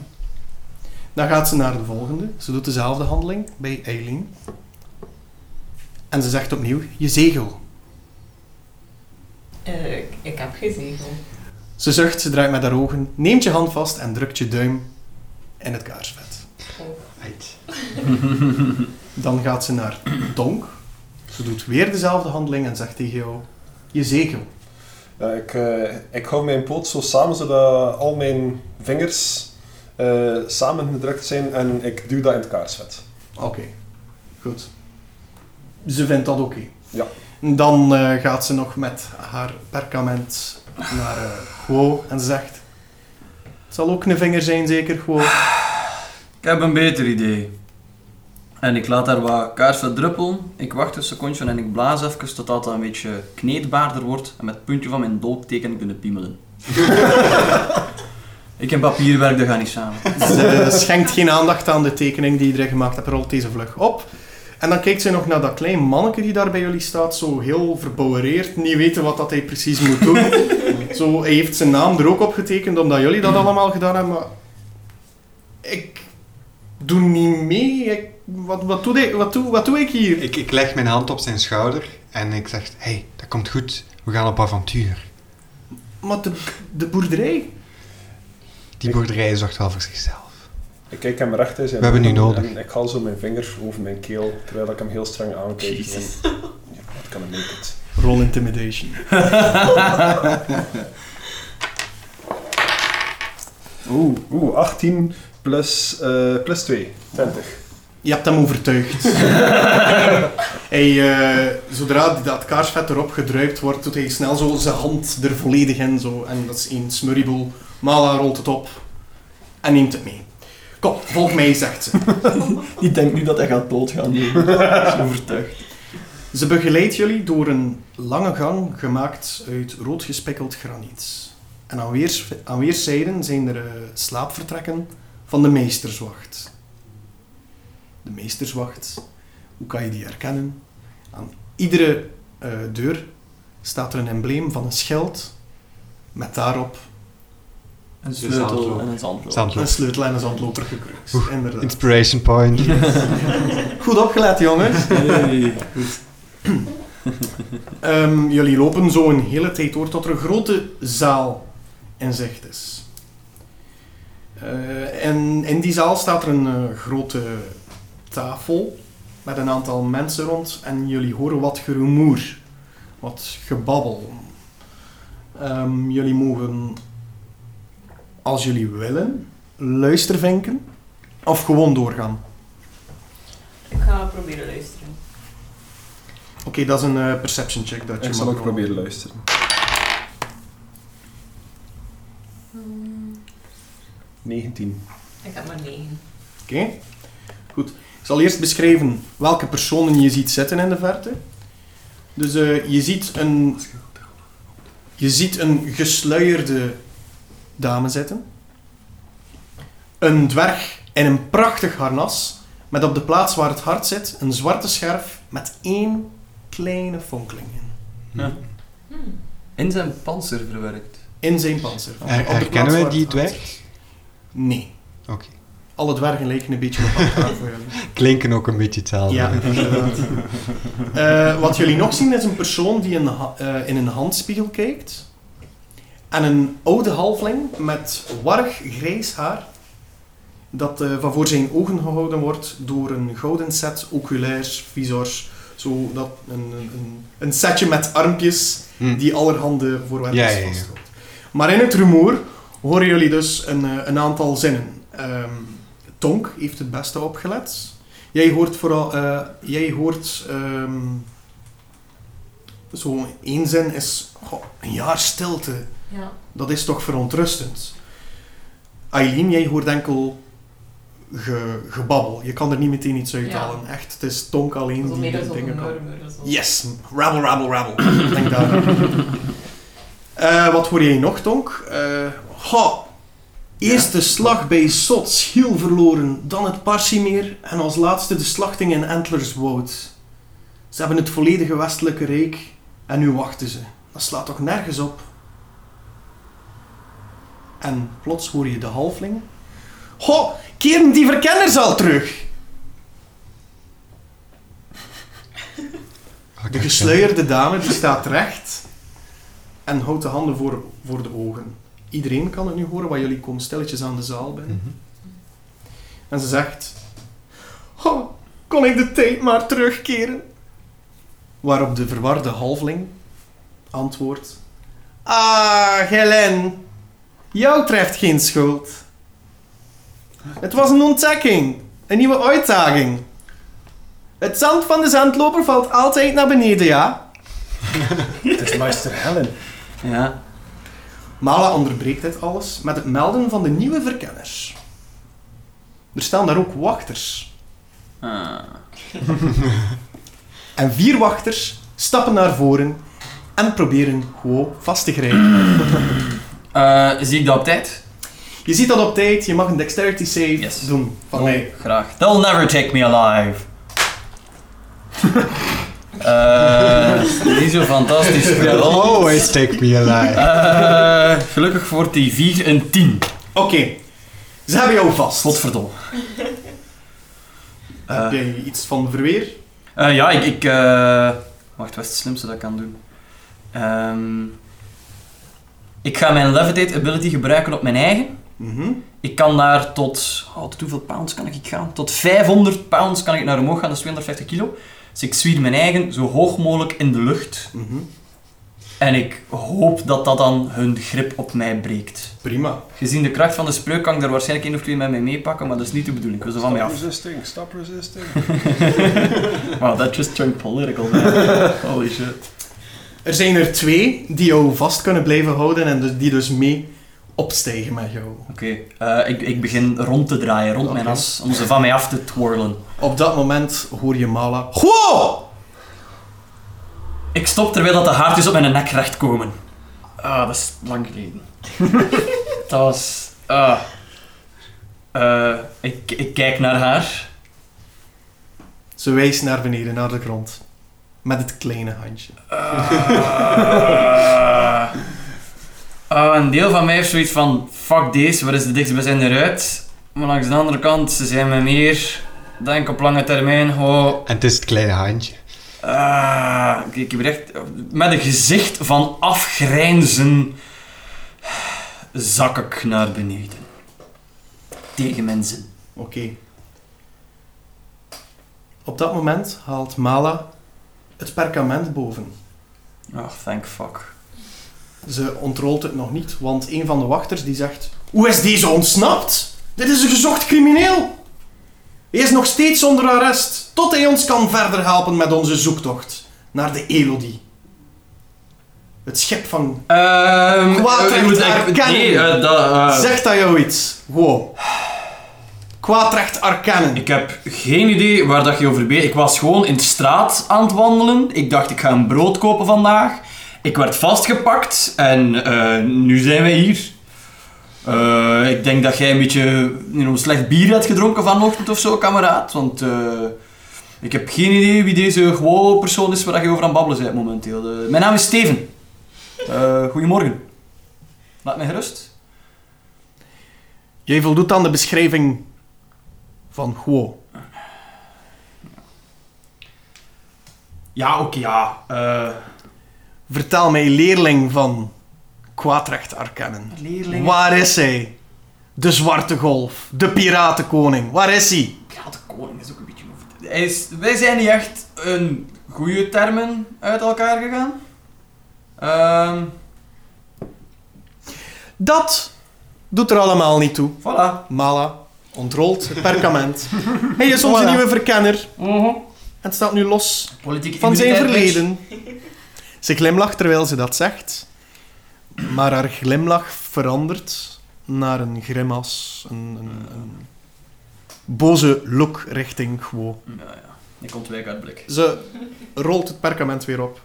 Dan gaat ze naar de volgende. Ze doet dezelfde handeling bij Eileen. En ze zegt opnieuw, je zegel. Eh, ik- ik heb geen zegel. Ze zucht, ze draait met haar ogen, neemt je hand vast en drukt je duim in het kaarsvet. Dan gaat ze naar Donk. Ze doet weer dezelfde handeling en zegt tegen jou, je zegel. Ja, ik, eh, ik hou mijn poot zo samen zodat al mijn vingers eh samengedrukt zijn en ik duw dat in het kaarsvet. Oké, goed. Ze vindt dat oké. Ja. Dan eh, gaat ze nog met haar perkament naar eh Guo en ze zegt: Het zal ook een vinger zijn, zeker. Gewoon. Ik heb een beter idee. En ik laat daar wat kaarsen druppelen. Ik wacht een secondje en ik blaas even totdat dat een beetje kneedbaarder wordt. En met het puntje van mijn dolk teken ik kunnen piemelen. ik en papierwerk, dat gaat niet samen. Ze schenkt geen aandacht aan de tekening die iedereen gemaakt hebt. Rolt deze vlug op. En dan kijkt ze nog naar dat klein manneke die daar bij jullie staat. Zo heel verbouwereerd. Niet weten wat dat hij precies moet doen. zo, hij heeft zijn naam er ook op getekend omdat jullie dat allemaal gedaan hebben. Maar ik doe niet mee. Ik- wat, wat, doe ik, wat, doe, wat doe ik hier? Ik, ik leg mijn hand op zijn schouder en ik zeg, hé, hey, dat komt goed. We gaan op avontuur. Maar de, de boerderij. Die boerderij zorgt wel voor zichzelf. Ik kijk hem recht in zijn We hebben ogen u nodig. En ik haal zo mijn vingers over mijn keel, terwijl ik hem heel streng aankijk. Van, ja, wat kan ik make it? Roll intimidation. Oeh, oeh 18 plus, eh, plus 2. 20. Je hebt hem overtuigd. hij, eh, zodra dat kaarsvet erop gedruipt wordt, doet hij snel zo zijn hand er volledig in. Zo. En dat is één smurrieboel. Mala rolt het op en neemt het mee. Kom, volg mij, zegt ze. Die denkt nu dat hij gaat doodgaan. Nee, dat is overtuigd. Ze begeleidt jullie door een lange gang gemaakt uit rood gespikkeld graniet. En aan, weers, aan weerszijden zijn er eh, slaapvertrekken van de meesterswacht. De meesterswacht, hoe kan je die herkennen? Aan iedere eh, deur staat er een embleem van een schild met daarop Een zandloper. sleutel en een zandloper. een Zandloop. sleutel en een zandloper gekruist. Inderdaad. Inspiration point. Goed opgelet, jongens. Hey. Ehm, jullie lopen zo een hele tijd door tot er een grote zaal in zicht is. Eh, en in die zaal staat er een eh, grote tafel met een aantal mensen rond en jullie horen wat gerumoer, wat gebabbel. Ehm, jullie mogen, als jullie willen, luistervinken of gewoon doorgaan. Ik ga proberen luisteren. Oké, dat is een eh, perception check dat je Ik zal mag ook rollen. proberen luisteren. Hmm, 19. ik heb maar 9. Oké. Goed. Ik zal eerst beschrijven welke personen je ziet zitten in de verte. Dus eh, je ziet een... Je ziet een gesluierde dame zitten. Een dwerg in een prachtig harnas. Met op de plaats waar het hart zit een zwarte scherf met één kleine fonkeling in. In zijn panzer verwerkt. In zijn panzer. Op de Her- plaats herkennen waar wij het die hart dwerg? zit. Nee. Oké. Alle dwergen lijken een beetje op elkaar voor jullie. Klinken ook een beetje hetzelfde. Ja, inderdaad. Eh, wat jullie nog zien is een persoon die een ha- eh, in een handspiegel kijkt. En een oude halfling met warrig grijs haar. Dat eh, van voor zijn ogen gehouden wordt door een gouden set oculairs, visors. Zo dat, een, een, een setje met armpjes Hm. die allerhande voorwerpen Ja, ja, ja. vasthoudt. Maar in het rumoer horen jullie dus een, eh, een aantal zinnen. Ehm, Tonk heeft het beste opgelet. Jij hoort vooral... eh, jij hoort... ehm, Zo'n één zin is... goh, een jaar stilte. Ja. Dat is toch verontrustend. Aileen, jij hoort enkel ge- gebabbel. Je kan er niet meteen iets uithalen. Echt, het is Tonk alleen Zo die meer dan dingen zo'n kan. murmur. zo. Yes, rabble, rabble, rabble. Ik Denk daar. Eh, wat hoor jij nog, Tonk? Eh ha, eerst de slag bij Sot, Schiel verloren, dan het Parsimeer en als laatste de slachting in Antlerswoud. Ze hebben het volledige westelijke rijk en nu wachten ze. Dat slaat toch nergens op? En plots hoor je de halfling. Ho, keren die verkenners al terug! De gesluierde dame die staat recht en houdt de handen voor, voor de ogen. Iedereen kan het nu horen, want jullie komen stilletjes aan de zaal binnen. Mhm. En ze zegt... Oh, kon ik de tijd maar terugkeren? Waarop de verwarde halfling antwoordt... Ah, Helen, jou treft geen schuld. Het was een ontdekking, een nieuwe uitdaging. Het zand van de zandloper valt altijd naar beneden, ja? Het is Meister Helen. Ja. Mala onderbreekt dit alles met het melden van de nieuwe verkenners. Er staan daar ook wachters. Ah. En vier wachters stappen naar voren en proberen gewoon vast te grijpen. Eh, zie ik dat op tijd? Je ziet dat op tijd, je mag een dexterity save Yes. doen van mij. Graag. They'll never take me alive. Eh, niet zo fantastisch. They'll vooral. always take Oh, me alive. Eh, gelukkig voor die 4 een 10. Oké, ze hebben jou vast. Godverdomme. Eh, Heb jij iets van verweer? eh, ja, ik... ik eh, Wacht, wat is het slimste dat ik kan doen? Ehm, ik ga mijn Levitate ability gebruiken op mijn eigen. Mhm. Ik kan daar tot... Oh, tot hoeveel pounds kan ik gaan? Tot 500 pounds kan ik naar omhoog gaan, dat is 250 kilo. Dus ik zwier mijn eigen zo hoog mogelijk in de lucht. mhm. En ik hoop dat dat dan hun grip op mij breekt. Prima. Gezien de kracht van de spreuk kan ik er waarschijnlijk één of twee met mij meepakken, maar dat is niet de bedoeling. Ik wil ze van mij af. resisting, stop resisting. wow, that just turned political. man. Holy shit. Er zijn er twee die jou vast kunnen blijven houden en dus- die dus mee opstijgen met jou. Oké, eh, ik, ik begin rond te draaien, rond mijn Oké. as, om ze van mij af te twirlen. Op dat moment hoor je Mala. Goh! Ik stop terwijl dat de haartjes op mijn nek rechtkomen. Ah, dat is lang geleden. dat was... Ah. Eh, ik, ik kijk naar haar. Ze wijst naar beneden, naar de grond. Met het kleine handje. Ah. Ah, een deel van mij heeft zoiets van: fuck deze, waar is de dichtstbijzijnde eruit? Maar langs de andere kant, ze zijn me meer. Denk op lange termijn, oh. En het is het kleine handje. ah, ik- ik heb echt met een gezicht van afgrijnzen zak ik naar beneden. Tegen mensen. Oké. Op dat moment haalt Mala het perkament boven. Ach, Oh, thank fuck. Ze ontrolt het nog niet, want een van de wachters die zegt... Hoe is deze ontsnapt? Dit is een gezocht crimineel! Hij is nog steeds onder arrest, tot hij ons kan verder helpen met onze zoektocht naar de Elodie. Het schip van... Ehm. Kwaad ik moet- ik- herkennen. Nee, eh, dat. eh, Zegt dat jou iets? Wow. Kwaadrecht Arcanen. Ik heb geen idee waar dat je over bent. Ik was gewoon in de straat aan het wandelen. Ik dacht, ik ga een brood kopen vandaag. Ik werd vastgepakt en eh, nu zijn we hier. Eh, ik denk dat jij een beetje een slecht bier hebt gedronken vanochtend of zo, kameraad. Want eh, ik heb geen idee wie deze gewone persoon is waar dat je over aan het babbelen bent momenteel. Eh, mijn naam is Steven. Eh, goedemorgen. Laat mij gerust. Jij voldoet aan de beschrijving van Guo. Ja, oké, ja. Eh, Vertel mij, leerling van Kwaadrecht Arcanen. Leerlingen. Waar is hij? De Zwarte Golf, de Piratenkoning, waar is hij? Ja, de koning is ook een beetje over. Hij is, wij zijn niet echt een goede termen uit elkaar gegaan. Ehm, Dat doet er allemaal niet toe. voilà. Mala ontrolt het perkament. hij is onze Voilà. nieuwe verkenner en staat nu los Politieke Mhm. van zijn immuniteit, bitch. verleden. Ze glimlacht terwijl ze dat zegt, maar haar glimlach verandert naar een grimas, een, een, een boze look richting Guo. Ja, ja. Ik ontwijk uit blik. Ze rolt het perkament weer op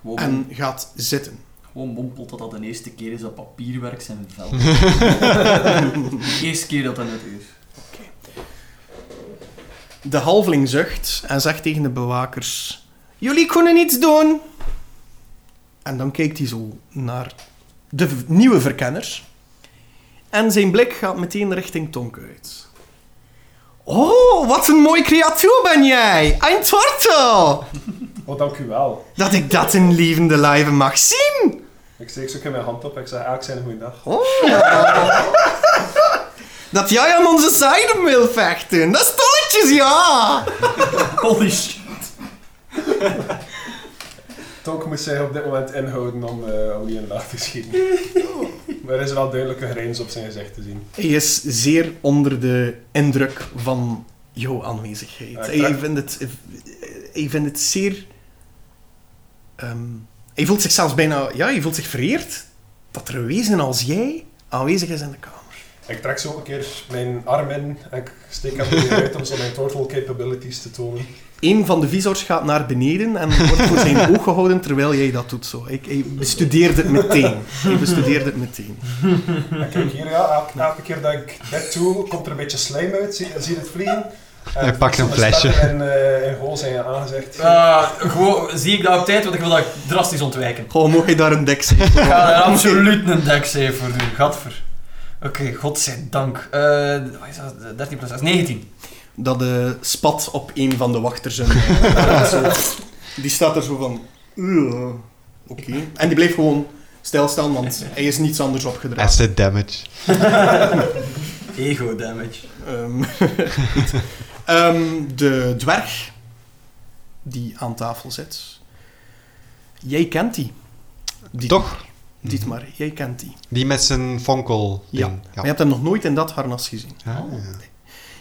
Gewoon, en gaat zitten. gewoon mompelt dat dat de eerste keer is dat papierwerk zijn vel. de eerste keer dat dat net is. De halfling zucht en zegt tegen de bewakers: Jullie kunnen niets doen. En dan kijkt hij zo naar de v- nieuwe verkenner. En zijn blik gaat meteen richting Tonk uit. Oh, wat een mooi creatuur ben jij! Een tortel! Oh, dank u wel. Dat ik dat in levende lijven mag zien! Ik steek zo een keer mijn hand op en ik zeg eigenlijk zijn goede dag. Oh. dat jij aan onze zijde wil vechten. Dat is tolletjes, ja! Holy shit. Tonk moet zich op dit moment inhouden om, eh om die in de laag te schieten. maar er is wel duidelijke grens op zijn gezicht te zien. Hij is zeer onder de indruk van jouw aanwezigheid. Ja, ik hij, trek- vindt het, hij vindt het zeer ehm, Hij voelt zich zelfs bijna... Ja, hij voelt zich vereerd dat er een wezen als jij aanwezig is in de kamer. Ik trek zo een keer mijn arm in en ik steek hem weer uit om zo mijn turtle capabilities te tonen. Een van de visors gaat naar beneden en wordt voor zijn oog gehouden terwijl jij dat doet. Zo. Ik, ik bestudeerde het meteen. Ik bestudeerde het meteen. En kijk hier, ja, elke, elke keer dat ik dit doe, komt er een beetje slijm uit. Zie, zie je het vliegen? En Hij pakt een zo'n spetter flesje. En, eh en goal zijn aangezicht. Ah, gewoon, zie ik dat op tijd, want ik wil dat drastisch ontwijken. Goh, mocht je daar een dek zijn? Ik ga er absoluut een deksave voor doen, gadver. Oké, godzijdank. Eh, wat is dat? 13 plus 6, 19. dat de spat op een van de wachters. En, eh, zo. die staat er zo van. "Ugh, Oké. En die bleef gewoon stilstaan, want hij is niets anders opgedragen. Acid damage. Ego damage. Ehm, goed. Ehm, de dwerg die aan tafel zit. Jij kent die. Diet- Toch? Dietmar, jij kent die. Die met zijn fonkel. ding. Maar je hebt hem nog nooit in dat harnas gezien. Ah,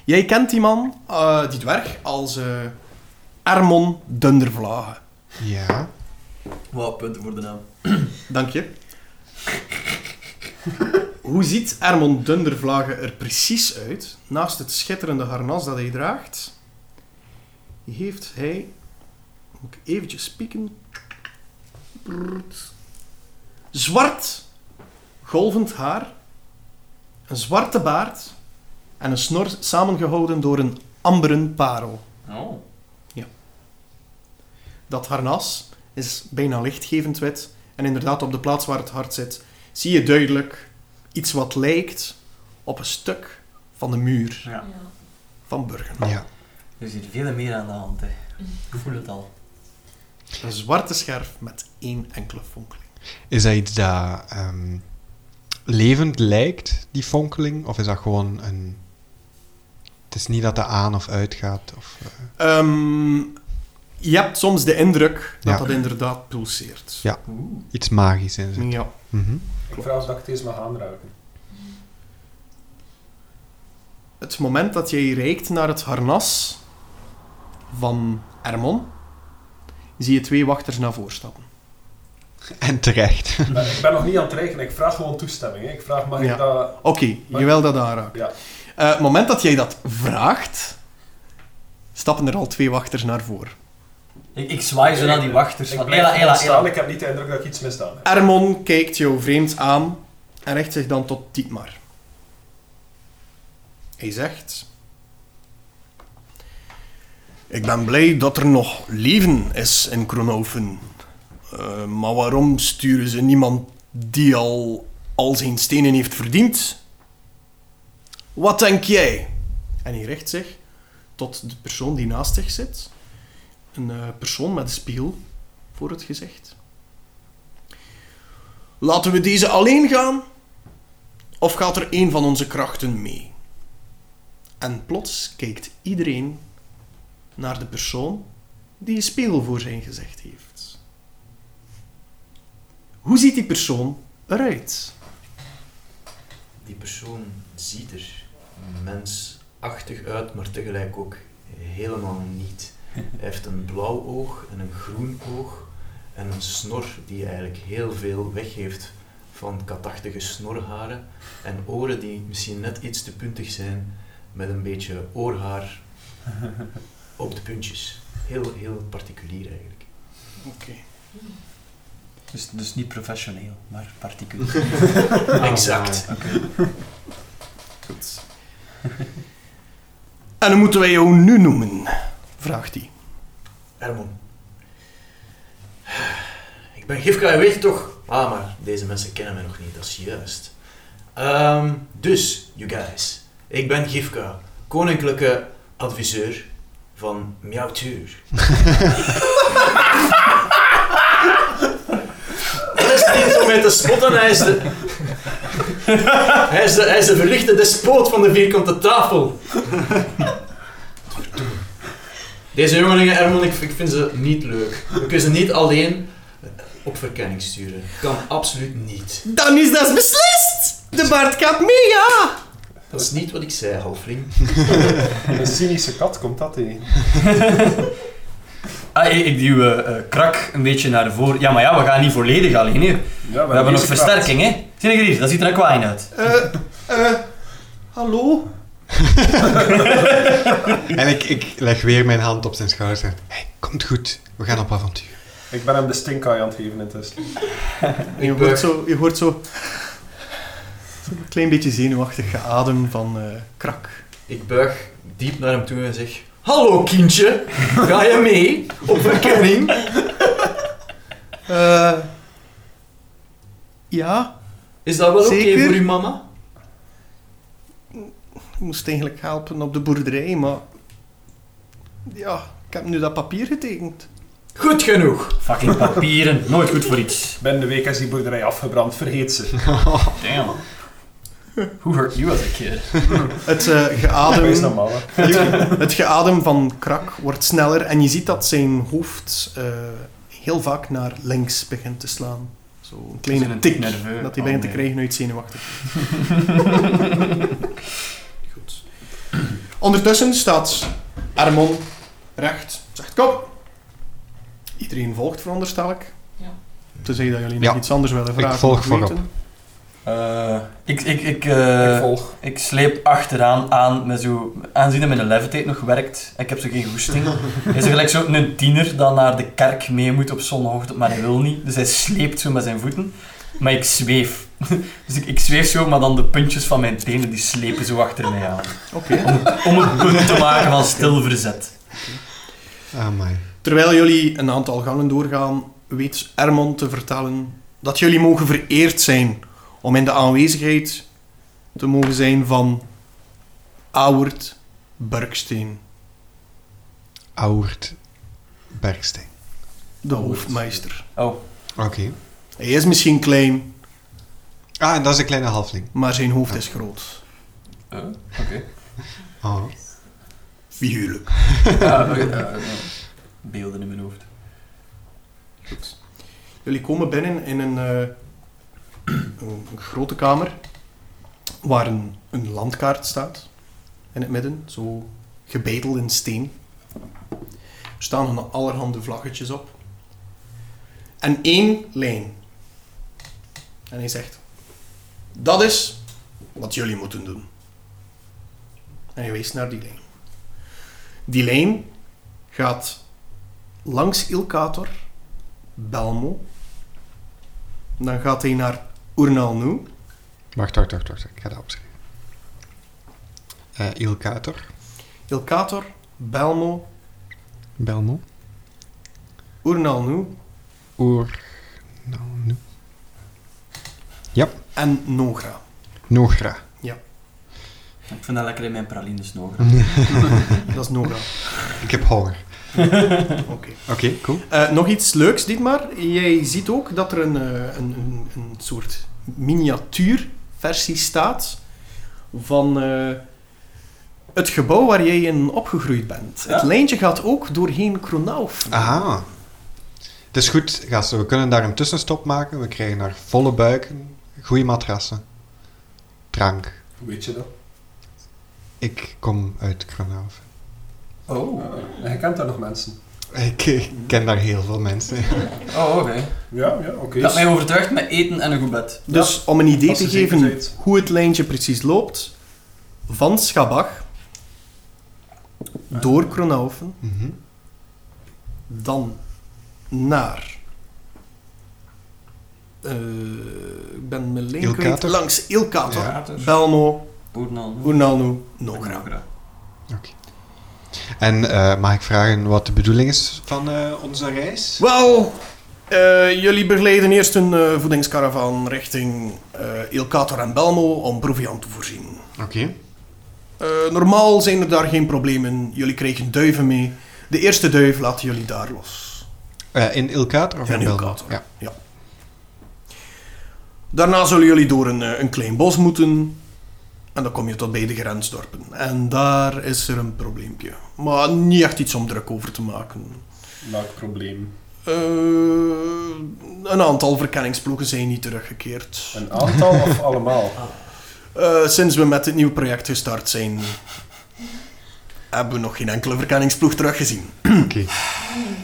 Jij kent die man, eh, die dwerg, als eh Armon Dundervlagen. ja. Wow, punten voor de naam. Dank je. Hoe ziet Ermond Dundervlagen er precies uit? Naast het schitterende harnas dat hij draagt, heeft hij... Moet ik eventjes spieken. Brrrt. Zwart, golvend haar, een zwarte baard en een snor samengehouden door een amberen parel. Oh. Dat harnas is bijna lichtgevend wit. En inderdaad, op de plaats waar het hart zit, zie je duidelijk iets wat lijkt op een stuk van de muur Ja. van Burgen. ja. Er is hier veel meer aan de hand, hè. Ik voel het al. Een zwarte scherf met één enkele fonkeling. Is dat iets dat ehm, levend lijkt, die fonkeling? Of is dat gewoon een... Het is niet dat dat aan of uitgaat? Of, eh, Ehm, je hebt soms de indruk dat Ja. dat inderdaad pulseert. Ja. iets magisch in zit. Ja. Mhm. Ik vraag of dat ik deze mag aanraken. Het moment dat jij reikt naar het harnas van Ermon, zie je twee wachters naar voren stappen. En terecht. Maar ik ben nog niet aan het rekenen, ik vraag gewoon toestemming. Hè. Ik vraag, mag Ja. ik dat... Oké, Maar- je wil dat aanraken. Ja. Eh, het moment dat jij dat vraagt, stappen er al twee wachters naar voren. Ik, ik zwaai zo naar die wachters. Ik Van, blijf Ela, gewoon Ela, staan, Ela. ik heb niet de indruk dat ik iets misdaan heb. Ermon kijkt jou vreemd aan en richt zich dan tot Dietmar. Hij zegt... Ik ben blij dat er nog leven is in Kronoven. Eh, maar waarom sturen ze niemand die al al zijn stenen heeft verdiend? Wat denk jij? En hij richt zich tot de persoon die naast zich zit. Een eh, persoon met een spiegel voor het gezicht. Laten we deze alleen gaan? Of gaat er een van onze krachten mee? En plots kijkt iedereen naar de persoon die een spiegel voor zijn gezicht heeft. Hoe ziet die persoon eruit? Die persoon ziet er mensachtig uit, maar tegelijk ook helemaal niet. Hij heeft een blauw oog en een groen oog en een snor die eigenlijk heel veel weggeeft van katachtige snorharen. En oren die misschien net iets te puntig zijn, met een beetje oorhaar op de puntjes. Heel, heel particulier eigenlijk. Dus, dus niet professioneel, maar particulier. exact. Goed. En hoe moeten wij jou nu noemen? Vraagt hij. Herman. Ik ben Gifka, je weet het toch? Ah, maar deze mensen kennen mij nog niet, dat is juist. Ehm, dus, you guys. Ik ben Gifka, koninklijke adviseur van Mjautuur. Hij is niet om mij te spotten, hij is de... Hij is de, hij is de verlichte despoot van de vierkante tafel. Deze jongelingen, Ermon, ik, ik vind ze niet leuk. We kunnen ze niet alleen op verkenning sturen. Kan absoluut niet. Dan is dat beslist! De baard gaat mee, ja! Dat is niet wat ik zei, halfling. Een cynische kat komt dat in. ah, ik, ik duw eh, eh, Krak een beetje naar voren. Ja, maar ja, we gaan niet volledig alleen. Hè. We hebben nog versterking, hè? Zie je hier, dat ziet er een kwijn uit. Eh, eh, hallo? En ik, ik leg weer mijn hand op zijn schouder en hey, komt goed, we gaan op avontuur. Ik ben hem de stinkeye aan het geven intussen. En je, hoort zo, je hoort zo... zo een klein beetje zenuwachtig geadem van eh, krak. Ik buig diep naar hem toe en zeg... Hallo kindje, ga je mee op verkenning? Eh, ja, Is dat wel oké Zeker? voor uw mama? ik moest eigenlijk helpen op de boerderij, maar... Ja, ik heb nu dat papier getekend. Goed genoeg. Fucking papieren, nooit goed voor iets. Binnen de week is die boerderij afgebrand, vergeet ze. Damn. Who hurt you as a kid? Het eh, Wees nou geadem... normaal. hè. Je- het geadem van Krak wordt sneller en je ziet dat zijn hoofd eh, heel vaak naar links begint te slaan. Zo een kleine een tik tik nerveus. dat hij Oh, begint nee. te krijgen uit zenuwachtig. Ondertussen staat Armon recht. Zegt kom. Iedereen volgt veronderstel ik. Ja. Tenzij dat jullie Ja. nog iets anders willen vragen. volg of weten. voorop. Eh, ik, ik, ik, eh, ik volg. ik sleep achteraan aan met zo... Aangezien dat mijn levitate nog werkt, ik heb zo geen goesting, is er gelijk zo een tiener dat naar de kerk mee moet op zondagochtend, maar hij wil niet. Dus hij sleept zo met zijn voeten. Maar ik zweef. Dus ik, ik zweef zo, maar dan de puntjes van mijn tenen die slepen zo achter mij aan. Oké. Om het punt te maken van stil verzet. Ah, my. Terwijl jullie een aantal gangen doorgaan, weet Ermon te vertellen dat jullie mogen vereerd zijn om in de aanwezigheid te mogen zijn van Auwert Burksteen, Auwert Bergsteen. de hoofdmeester. Oh, Oké. Hij is misschien klein, Ah, en dat is een kleine halfling. maar zijn hoofd is groot. oké. Oh. Figuurlijk. Ja, oké, ja, ja. Beelden in mijn hoofd. Jullie komen binnen in een, eh, een grote kamer waar een, een landkaart staat in het midden, zo gebeiteld in steen. Er staan van allerhande vlaggetjes op. En één lijn. En hij zegt: Dat is wat jullie moeten doen. En hij wijst naar die lijn. Die lijn gaat langs Ilkator, Belmo, dan gaat hij naar Oernal Nu. Wacht, wacht, wacht, wacht. Ik ga dat opschrijven. Eh Ilkator, Ilkator, Belmo, Belmo, Oernal Nu Oer, nou, nu. en Nogra. Nogra. Ik vind dat lekker in mijn pralines nog. Dat is Nogra. Ik heb honger. Oké. Oké, cool. Eh, nog iets leuks, Dietmar. Jij ziet ook dat er een, eh, een, een, een soort miniatuurversie staat van eh, het gebouw waar jij in opgegroeid bent. Ja. Het lijntje gaat ook doorheen Kronauf. Aha. Het is goed, gasten. We kunnen daar een tussenstop maken. We krijgen daar volle buiken, goede matrassen, drank. Hoe weet je dat? Ik kom uit Kronhaven. Oh, Ah, je kent daar nog mensen. Ik eh, ken daar heel veel mensen. oh oké. Ja, ja, oké. Dat mij overtuigt met eten en een goed bed. Dus om een idee Als te je zeker geven weet. hoe het lijntje precies loopt, van Schabach door Kronhoven, Mhm. dan naar. eh, ik ben mijn lijn Ilkater? kwijt. Langs Ilkator, Ja. Belmo, Boernal. Oernalno, nou, Nogra. En eh, mag ik vragen wat de bedoeling is van eh, onze reis? Wel, eh, jullie begeleiden eerst een eh voedingskaravan richting eh Ilkator en Belmo om proviant te voorzien. Oké. Eh, normaal zijn er daar geen problemen. Jullie kregen duiven mee. De eerste duif laten jullie daar los. Eh, in Ilkator of Ja, in Belmo? Ilkator. Ja. Daarna zullen jullie door een, eh, een klein bos moeten. En dan kom je tot bij de grensdorpen. En daar is er een probleempje. Maar niet echt iets om druk over te maken. Welk probleem? Eh, een aantal verkenningsploegen zijn niet teruggekeerd. Een aantal of allemaal? Eh, sinds we met het nieuwe project gestart zijn. hebben we nog geen enkele verkenningsploeg teruggezien.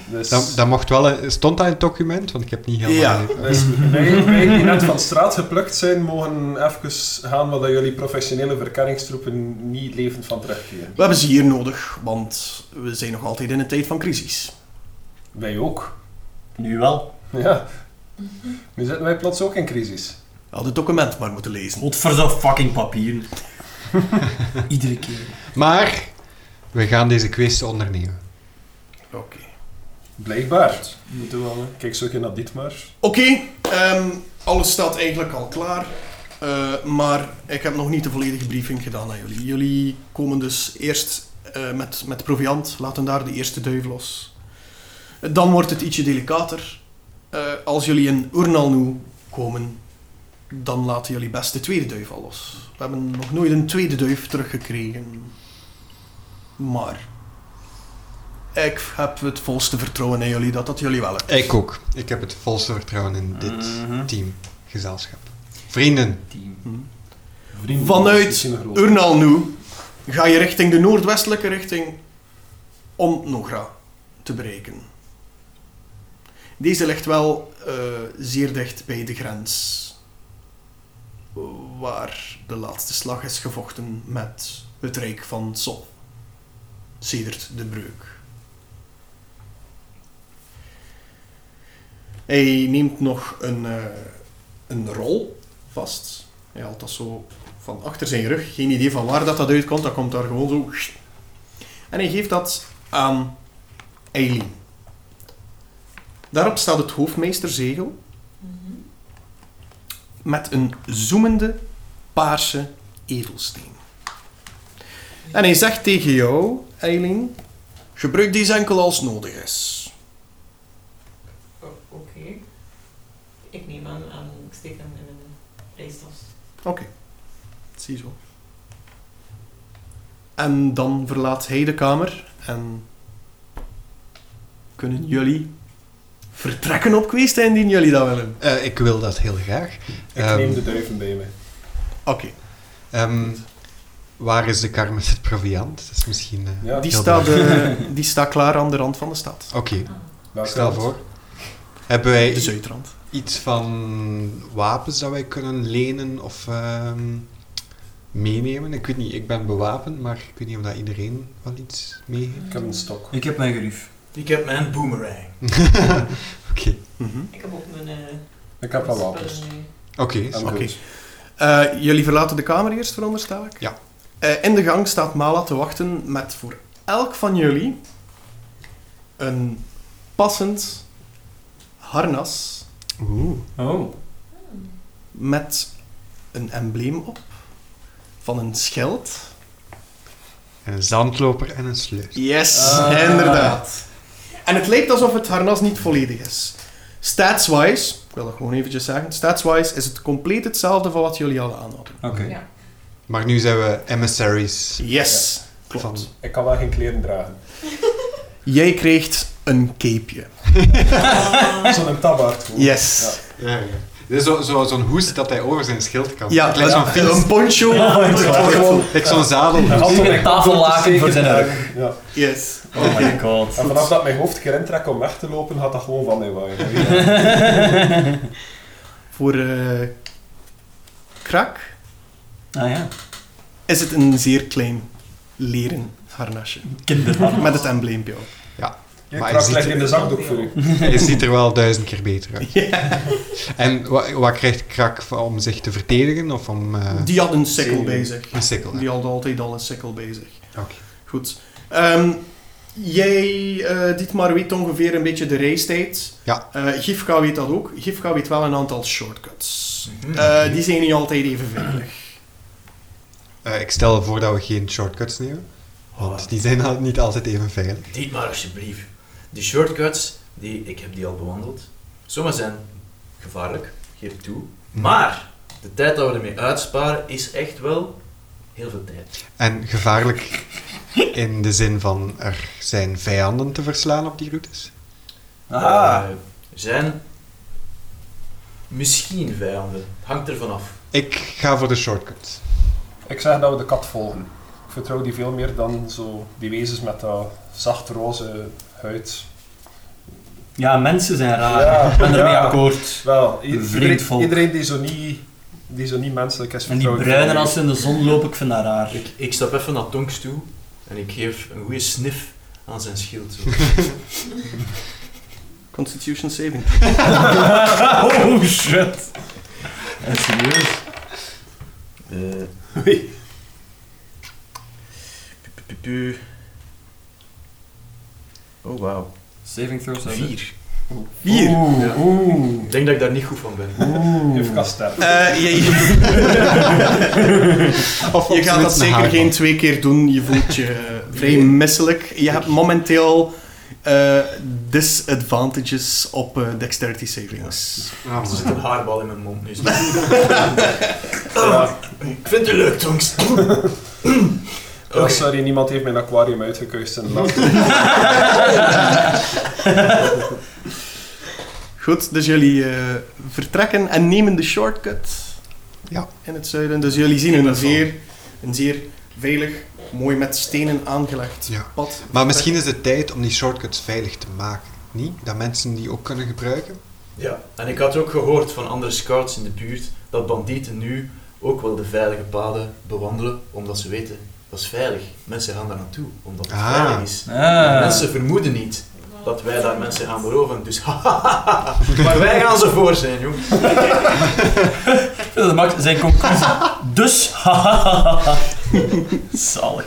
Dus, Dat, dat mocht wel... een- Stond dat in het document? Want ik heb niet Ja. helemaal... dus wij, wij die net van straat geplukt zijn, mogen even gaan wat dat jullie professionele verkenningstroepen niet levend van terugkeren. We hebben ze hier nodig, want we zijn nog altijd in een tijd van crisis. Wij ook. Nu wel. Ja. Nu zitten wij plots ook in crisis. Had het document maar moeten lezen. Godverdomme fucking papieren. Iedere keer. Maar we gaan deze quiz ondernemen. Oké. Blijkbaar. Moeten we wel, hè. Kijk zo een keer naar Dietmar. Oké, ehm, alles staat eigenlijk al klaar. Eh, maar ik heb nog niet de volledige briefing gedaan aan jullie. Jullie komen dus eerst eh, met, met proviant, laten daar de eerste duif los. Dan wordt het ietsje delicater. Eh, als jullie in Urnalnu komen, dan laten jullie best de tweede duif al los. We hebben nog nooit een tweede duif teruggekregen. Maar ik heb het volste vertrouwen in jullie dat dat jullie wel lukt. Ik ook. Ik heb het volste vertrouwen in dit Mhm. Mm. team, gezelschap. Vrienden. Team. Hm. Vrienden, Vanuit dat is misschien een grote. Urnal nu ga je richting de noordwestelijke richting om Nogra te bereiken. Deze ligt wel eh, zeer dicht bij de grens waar de laatste slag is gevochten met het Rijk van Sol. Sedert de Breuk. Hij neemt nog een, eh, een rol vast. Hij haalt dat zo van achter zijn rug. Geen idee van waar dat, dat uitkomt. Dat komt daar gewoon zo. En hij geeft dat aan Eileen. Daarop staat het hoofdmeesterzegel. Met een zoemende paarse edelsteen. En hij zegt tegen jou, Eileen, gebruik deze enkel als nodig is. Oké. Ik neem aan, aan ik steek hem in mijn eh, reistas. Ziezo. En dan verlaat hij de kamer en kunnen jullie vertrekken op Questa indien jullie dat willen. Eh, ik wil dat heel graag. Ik Ehm, neem de duiven bij mij. Oké, ehm, waar is de kar met het proviant? Dat is misschien... eh, Ja, die, heel staat, belangrijk. eh, die staat klaar aan de rand van de stad. Oké, welke stel hand? voor. Hebben wij De zuidrand. iets van wapens dat wij kunnen lenen of ehm, meenemen? Ik weet niet, ik ben bewapend, maar ik weet niet of dat iedereen wel iets mee heeft. Ik heb een stok. Ik heb mijn gerief. Ik heb mijn boomerang. Oké, Mhm. Ik heb ook mijn... eh, Ik heb wel wapens. spullen mee. oké. En dus, Oké. goed. Eh, jullie verlaten de kamer eerst, veronderstel ik? Ja. Eh, in de gang staat Mala te wachten met voor elk van jullie een passend harnas Oeh. Oh. met een embleem op van een schild. En een zandloper en een sleut. Yes, Ah. inderdaad. En het lijkt alsof het harnas niet volledig is. Statswise, ik wil dat gewoon eventjes zeggen, statswise is het compleet hetzelfde van wat jullie al aan hadden. Oké. Ja. Maar nu zijn we emissaries. Yes, klopt. Van- Ik kan wel geen kleren dragen. Jij krijgt een capeje. Zo'n tabaard. gewoon. Yes. Ja, ja. Dit is zo- zo- zo'n hoest dat hij over zijn schild kan. Ja, Het lijkt zo'n een, fiets. poncho. Het wordt Lijkt zo'n En zadel. altijd Een mijn kop op tafellaken te voor zijn steken. rug. Ja. Yes. Oh my god. En vanaf dat mijn hoofd keer intrek om weg te lopen, gaat dat gewoon van mij waaien. Voor eh, krak Ah ja. is het een zeer klein leren harnasje. Kinderhand. Met het embleempje op. Je Maar krak je ligt ziet- in de zakdoek voor u. Hij ziet er wel duizend keer beter uit. En wa- wat krijgt Krak v- om zich te verdedigen? Of om eh, Die had een sikkel zeker. bij zich. een sikkel? hè? Die had altijd al een sikkel bij zich. Oké. Goed. Ehm, jij, eh Dietmar, weet ongeveer een beetje de racetijd. Ja. Eh, Gifka weet dat ook. Gifka weet wel een aantal shortcuts. Eh, die zijn niet altijd even veilig. Eh, ik stel voor dat we geen shortcuts nemen. Want die zijn al- niet altijd even veilig. Dit maar alsjeblieft. Die shortcuts, die, ik heb die al bewandeld. Sommige zijn gevaarlijk, geef ik toe. Maar de tijd dat we ermee uitsparen is echt wel heel veel tijd. En gevaarlijk in de zin van er zijn vijanden te verslaan op die routes. Ah. Eh, er zijn misschien vijanden. Het hangt ervan af. Ik ga voor de shortcuts. Ik zeg dat we de kat volgen. Ik vertrouw die veel meer dan zo die wezens met dat zacht roze huid. Ja, mensen zijn raar. Ja, Ah, ik ben ermee ja. akkoord. Wel, i- iedereen, Vreedvolk. iedereen die zo niet, die zo niet menselijk is, En die vertrouw ik bruinen wel. als ze in de zon lopen, ik vind dat raar. Ik, ik stap even naar Tonks toe en ik geef een goede sniff aan zijn schild. Zo. Constitution saving. oh shit. En serieus. Eh, Oei. Pu- pu- pu. Oh, wauw. Saving throws zijn er. Vier. Vier. Oeh, Ja. oeh. Ik denk dat ik daar niet goed van ben. Juf Kastel. Eh, je, Of je gaat dat zeker geen twee keer doen. Je voelt je eh, vrij misselijk. Je hebt momenteel eh, disadvantages op eh, dexterity savings. Ah, Er man. zit een haarbal in mijn mond nu. Ah, Ik vind het leuk, Tonks. Oh, sorry, niemand heeft mijn aquarium uitgekuist in de nacht. Goed, dus jullie eh, vertrekken en nemen de shortcut Ja. in het zuiden. Dus jullie zien een zeer, een zeer veilig, mooi met stenen aangelegd Ja. pad. Maar misschien is het tijd om die shortcuts veilig te maken. Niet? Dat mensen die ook kunnen gebruiken. Ja, en ik had ook gehoord van andere scouts in de buurt dat bandieten nu ook wel de veilige paden bewandelen, omdat ze weten dat is veilig. Mensen gaan daar naartoe, omdat het Ah. veilig is. Ah. Mensen vermoeden niet dat wij daar mensen gaan beroven, dus Maar wij gaan ze voor zijn, jong. Dat maakt zijn conclusie. Dus, Zalig.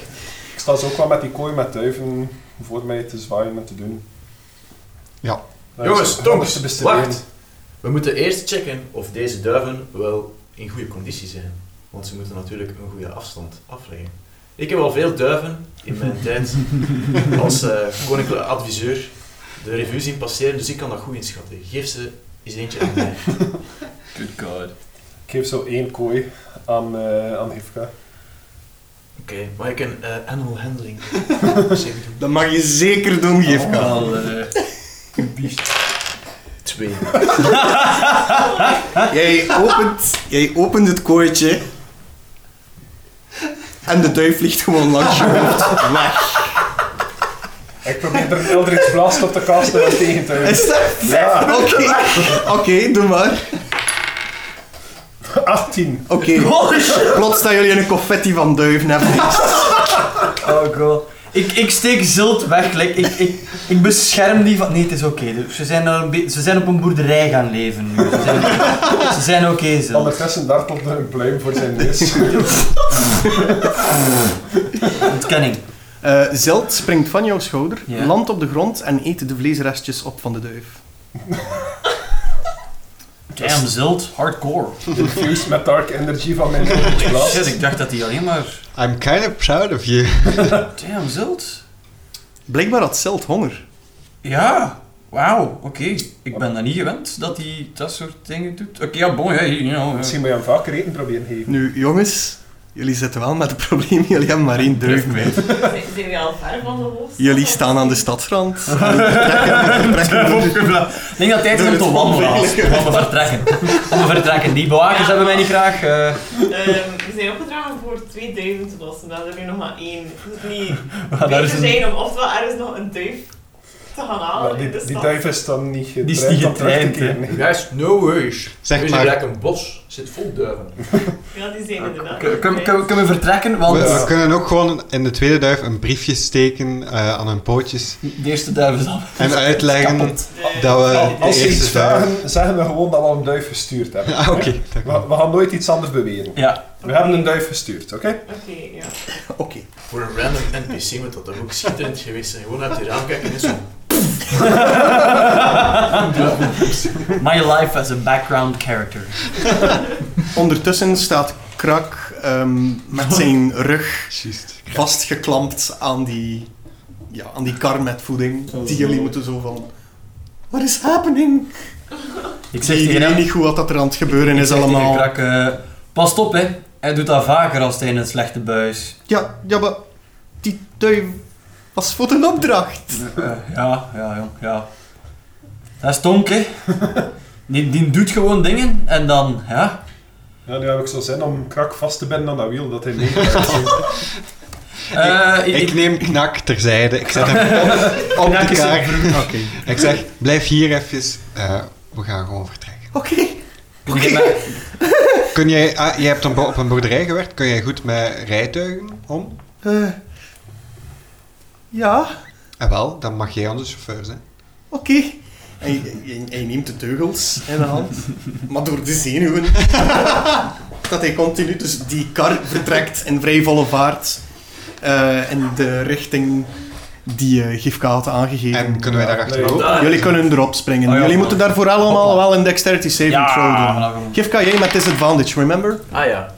Ik sta zo ook wel met die kooi met duiven voor mij te zwaaien en te doen. Ja. Daar Jongens, is- daar Tonks, is te bestuderen. wacht. We moeten eerst checken of deze duiven wel in goede conditie zijn. Want ze moeten natuurlijk een goede afstand afleggen. Ik heb al veel duiven in mijn tijd als eh koninklijke adviseur de revue zien passeren, dus ik kan dat goed inschatten. Geef ze eens eentje aan mij. Good god. Ik geef zo één kooi aan, eh aan Hifka. Oké, mag ik een eh, animal handling check doen? Dat mag je zeker doen, Oh. Gifka. Twee. Jij opent, jij opent het kooitje. En de duif vliegt gewoon langs je hoofd. Weg. Ik probeer er Eldritch Blast op te kasten en tegen te houden. Is dat? Ja, Oké, oké, doe maar. 18. Oké. Plots staan jullie in een confetti van duiven hebben. Oh god. Ik, ik steek Zult weg. like, ik, ik, ik bescherm die van... Nee, het is oké. Dus Ze, zijn al een be- ze zijn op een boerderij gaan leven nu. Ze zijn, ze zijn oké, Zult. Ondertussen dartelt er een pluim voor zijn neus. Ontkenning. Eh Zeld springt van jouw schouder, Ja. landt op de grond en eet de vleesrestjes op van de duif. Damn, Zult. Hardcore. Infused met dark energy van mijn Eldritch Shit, Blast. ik dacht dat hij alleen maar... I'm kind of proud of you. Damn, Zult. Blijkbaar had Zeld honger. Ja. Wauw, oké. Ik ben dat niet gewend, dat hij dat soort dingen doet. Oké, ja, bon, ja, you know, ja. Misschien moet je hem vaker eten proberen geven. Nu, jongens, jullie zitten wel met het probleem. Jullie hebben maar één duif mee. Zijn jullie al ver van de hoofdstad? Jullie staan aan de stadsrand. Trekken- trekken- Ik denk dat het tijd is om te wandelen. Om te vertrekken. Om te vertrekken. Die bewakers hebben mij niet graag. eh. Ehm, we zijn opgedragen voor 2000 te lossen, maar er is nu nog maar één. Het is niet maar daar beter is een- zijn om oftewel ergens nog een duif te gaan halen Maar in de die, stad. die duif is dan niet is getraind, niet om terug te getraind, hè. keren. Guys, no worries. Zeg Weet je, maar. gelijk een bos zit vol duiven. Ja, die zijn inderdaad. Kun- kun- kun- Kunnen we vertrekken? Want We, we de kunnen ook gewoon in de tweede duif een briefje steken eh, aan hun pootjes. eerste duif is al. En uitleggen dat we De- Als- de Als ze eerste iets duif... vragen, zeggen we gewoon dat we al een duif gestuurd hebben. Ah, oké. dat We, kan. we gaan nooit iets anders beweren. Ja. We hebben een duif gestuurd, oké? Oké, ja. Oké. Voor een random NPC moet dat toch ook schitterend geweest zijn. Gewoon uit die raam kijken en zo. My life as a background character. Ondertussen staat Krak ehm, met zijn rug Juist. vastgeklampt aan die, ja, aan die kar met voeding. Oh. Die jullie moeten zo van... What is happening? Ik zeg Die tegen weet hem. niet goed wat dat er aan het gebeuren ik is zeg tegen allemaal. Krak, eh, Past op, hè. Hij doet dat vaker als hij in een slechte buis. Ja, ja, maar die duif was voor een opdracht. Eh, ja, ja, jong, ja. Dat is tonk, hè. Die, die doet gewoon dingen en dan, ja. Ja, nu heb ik zo zin om krak vast te binden aan dat wiel dat hij mee gaat. Eh, ik, Ik neem Knak terzijde. Ik zet hem op, op Knak de is een kaart. broer. Ik zeg, blijf hier even. Eh, we gaan gewoon vertrekken. Oké. ik neem maar- Kun jij, ah, jij hebt een bo- op een boerderij gewerkt. Kun jij goed met rijtuigen om? Eh, ja, Eh, wel, dan mag jij onze chauffeur zijn. oké. Hij, hij- hij neemt de teugels in de hand, maar door de zenuwen. dat hij continu, dus die kar vertrekt in vrij volle vaart eh, in de richting die eh Gifka had aangegeven. En kunnen wij daar Nee, achterop? daar- Oh, Jullie kunnen erop springen. Oh ja, Jullie voilà. moeten daarvoor allemaal wel een dexterity saving Ja, throw doen. voilà, gewoon. Gifka, jij met disadvantage, remember? Ah ja,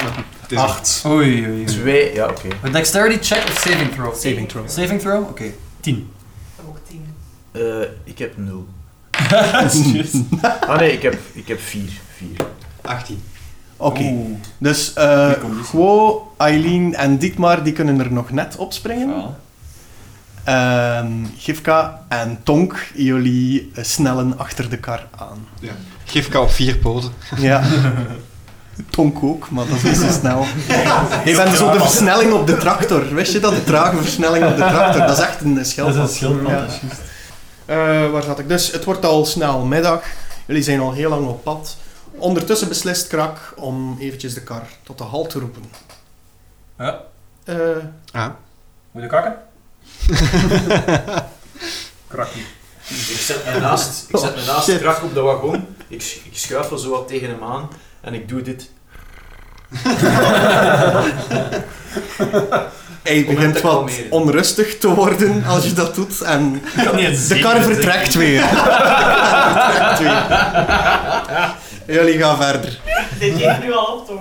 Het is- Acht. Oei, oei, oei. twee, ja oké. Een dexterity check of saving throw? Saving throw. Saving throw? Oké. 10. Eh, ik heb nul. Juist. Ah nee, ik heb, ik heb vier. vier. 18. Oké. Oeh, Dus eh Die conditie. Guo, Eileen en Dietmar die kunnen er nog net opspringen. voilà. Ehm, Gifka en Tonk, jullie eh, snellen achter de kar aan. Gifka op vier poten. Ja. Tonk ook, maar dat is te snel. Je bent zo de versnelling op de tractor. Wist je dat? De trage versnelling op de tractor. Dat is echt een Dat is schelp. een schildpad, Ja. dat is juist. Eh, waar zat ik? Dus het wordt al snel middag. Jullie zijn al heel lang op pad. Ondertussen beslist Krak om eventjes de kar tot de halt te roepen. Ja. Eh, Moet je kakken? Krakkie. Ik zet mijn naast, ik zet mijn naast Oh, shit. strak op de wagon, ik, sch- ik schuif er zo wat tegen hem aan en ik doe dit. hij hem begint te wat kalmeren. onrustig te worden als je dat doet. En de kar zeker. vertrekt weer. De kar vertrekt weer. Jullie gaan verder. Dit jij nu al op, Tom?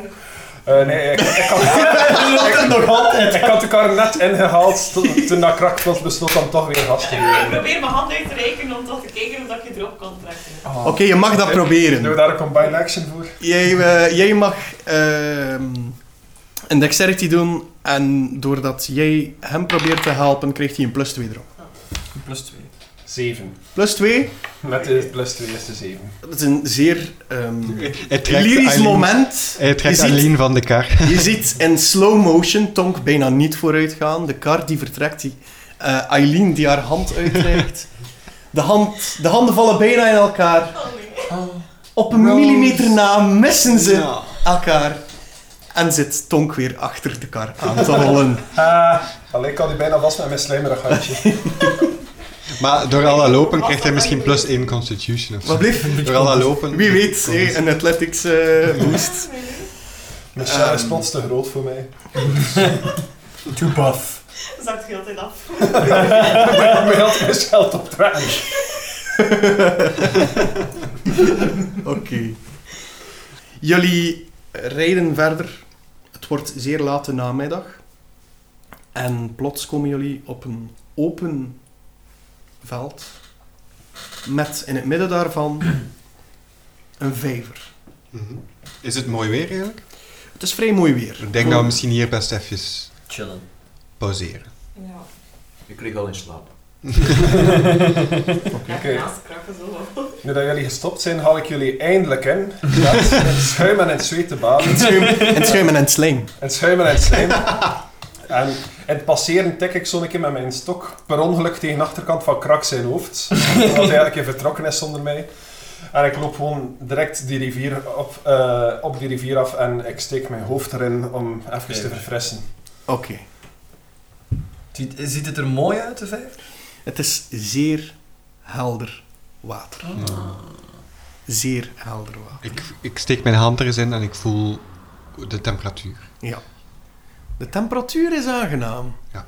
Eh, nee, ik, ik had, ik, nog altijd. ik had de kar net ingehaald to- toen dat krak was besloot om toch weer vast te Ik nemen. probeer mijn hand uit te rekenen om toch te kijken of dat ik je erop kan trekken. Oké, je mag dat proberen. Doen we daar een combined action voor? Jij, eh, jij mag ehm, een dexterity doen en doordat jij hem probeert te helpen, krijgt hij een plus 2 erop. Plus 2. 7. Plus 2, Met de plus 2 is de 7. dat is een zeer ehm Hij trekt lyrisch Eileen- moment. Hij trekt Je ziet- Aline van de kar. Je ziet in slow motion Tonk bijna niet vooruit gaan. De kar die vertrekt, die, eh, Eileen die haar hand uitreikt. De, hand, de handen vallen bijna in elkaar. Oh nee. Op een Rose. millimeter na missen ze Ja. elkaar. En zit Tonk weer achter de kar aan te rollen. Ah, allee, ik had die bijna vast met mijn slijmerig handje. Maar door al dat lopen krijgt hij misschien plus 1 constitution of zo. Wat blieft? Door al dat lopen. Wie weet, hé, een athletics eh, boost. Mijn share is Ehm. plots te groot voor mij. Too buff. Dat zakt heel tijd af. Ik moet altijd mijn geld opdragen. Oké. Jullie rijden verder. Het wordt zeer laat de namiddag. En plots komen jullie op een open veld. Met in het midden daarvan een vijver. Mhm. Is het mooi weer eigenlijk? Het is vrij mooi weer. Ik denk dat we misschien hier best even Chillen. pauzeren. Ja. Ik lig al in slaap. Oké. Oké. Naast krakken zo. Nu dat jullie gestopt zijn, haal ik jullie eindelijk in. Met het schuim en het zweet te baden. En schuim, en schuim en het slijm. En schuim en het slijm. En in het passeren tik ik zo'n keer met mijn stok per ongeluk tegen de achterkant van Krak zijn hoofd. Omdat hij eigenlijk keer vertrokken is zonder mij. En ik loop gewoon direct die rivier op, eh, op die rivier af en ik steek mijn hoofd erin om even te verfrissen. Oké. Ziet, ziet het er mooi uit, de vijver? Het is zeer helder water. Ja. Zeer helder water. Ik, ik steek mijn hand er eens in en ik voel de temperatuur. De temperatuur is aangenaam. Ah.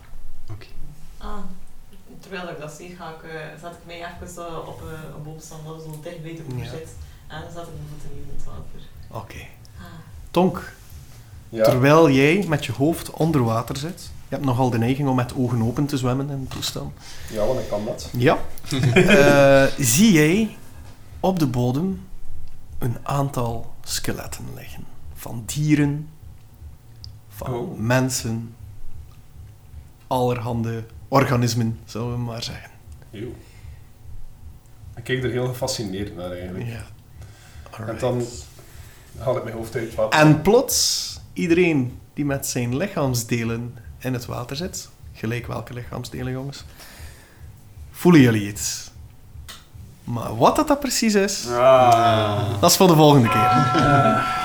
Terwijl ik dat zie, ga ik, eh, zet ik mij even zo op eh, een boomstam dat zo dicht bij de oever Ja. zit. En dan zet ik mijn voeten in het water. Oké. Ah. Tonk, Ja. terwijl jij met je hoofd onder water zit, je hebt nogal de neiging om met ogen open te zwemmen in het toestel. ja, want ik kan dat. Ja. Eh, zie jij op de bodem een aantal skeletten liggen. Van dieren, van Oh. mensen, allerhande organismen, zullen we maar zeggen. Eeuw. Ik kijk er heel gefascineerd naar eigenlijk. Ja. En Alright. dan haal ik mijn hoofd uit het water. En plots, iedereen die met zijn lichaamsdelen in het water zit, gelijk welke lichaamsdelen, jongens, voelen jullie iets. Maar wat dat, dat precies is, Ah. dat is voor de volgende keer. Eh.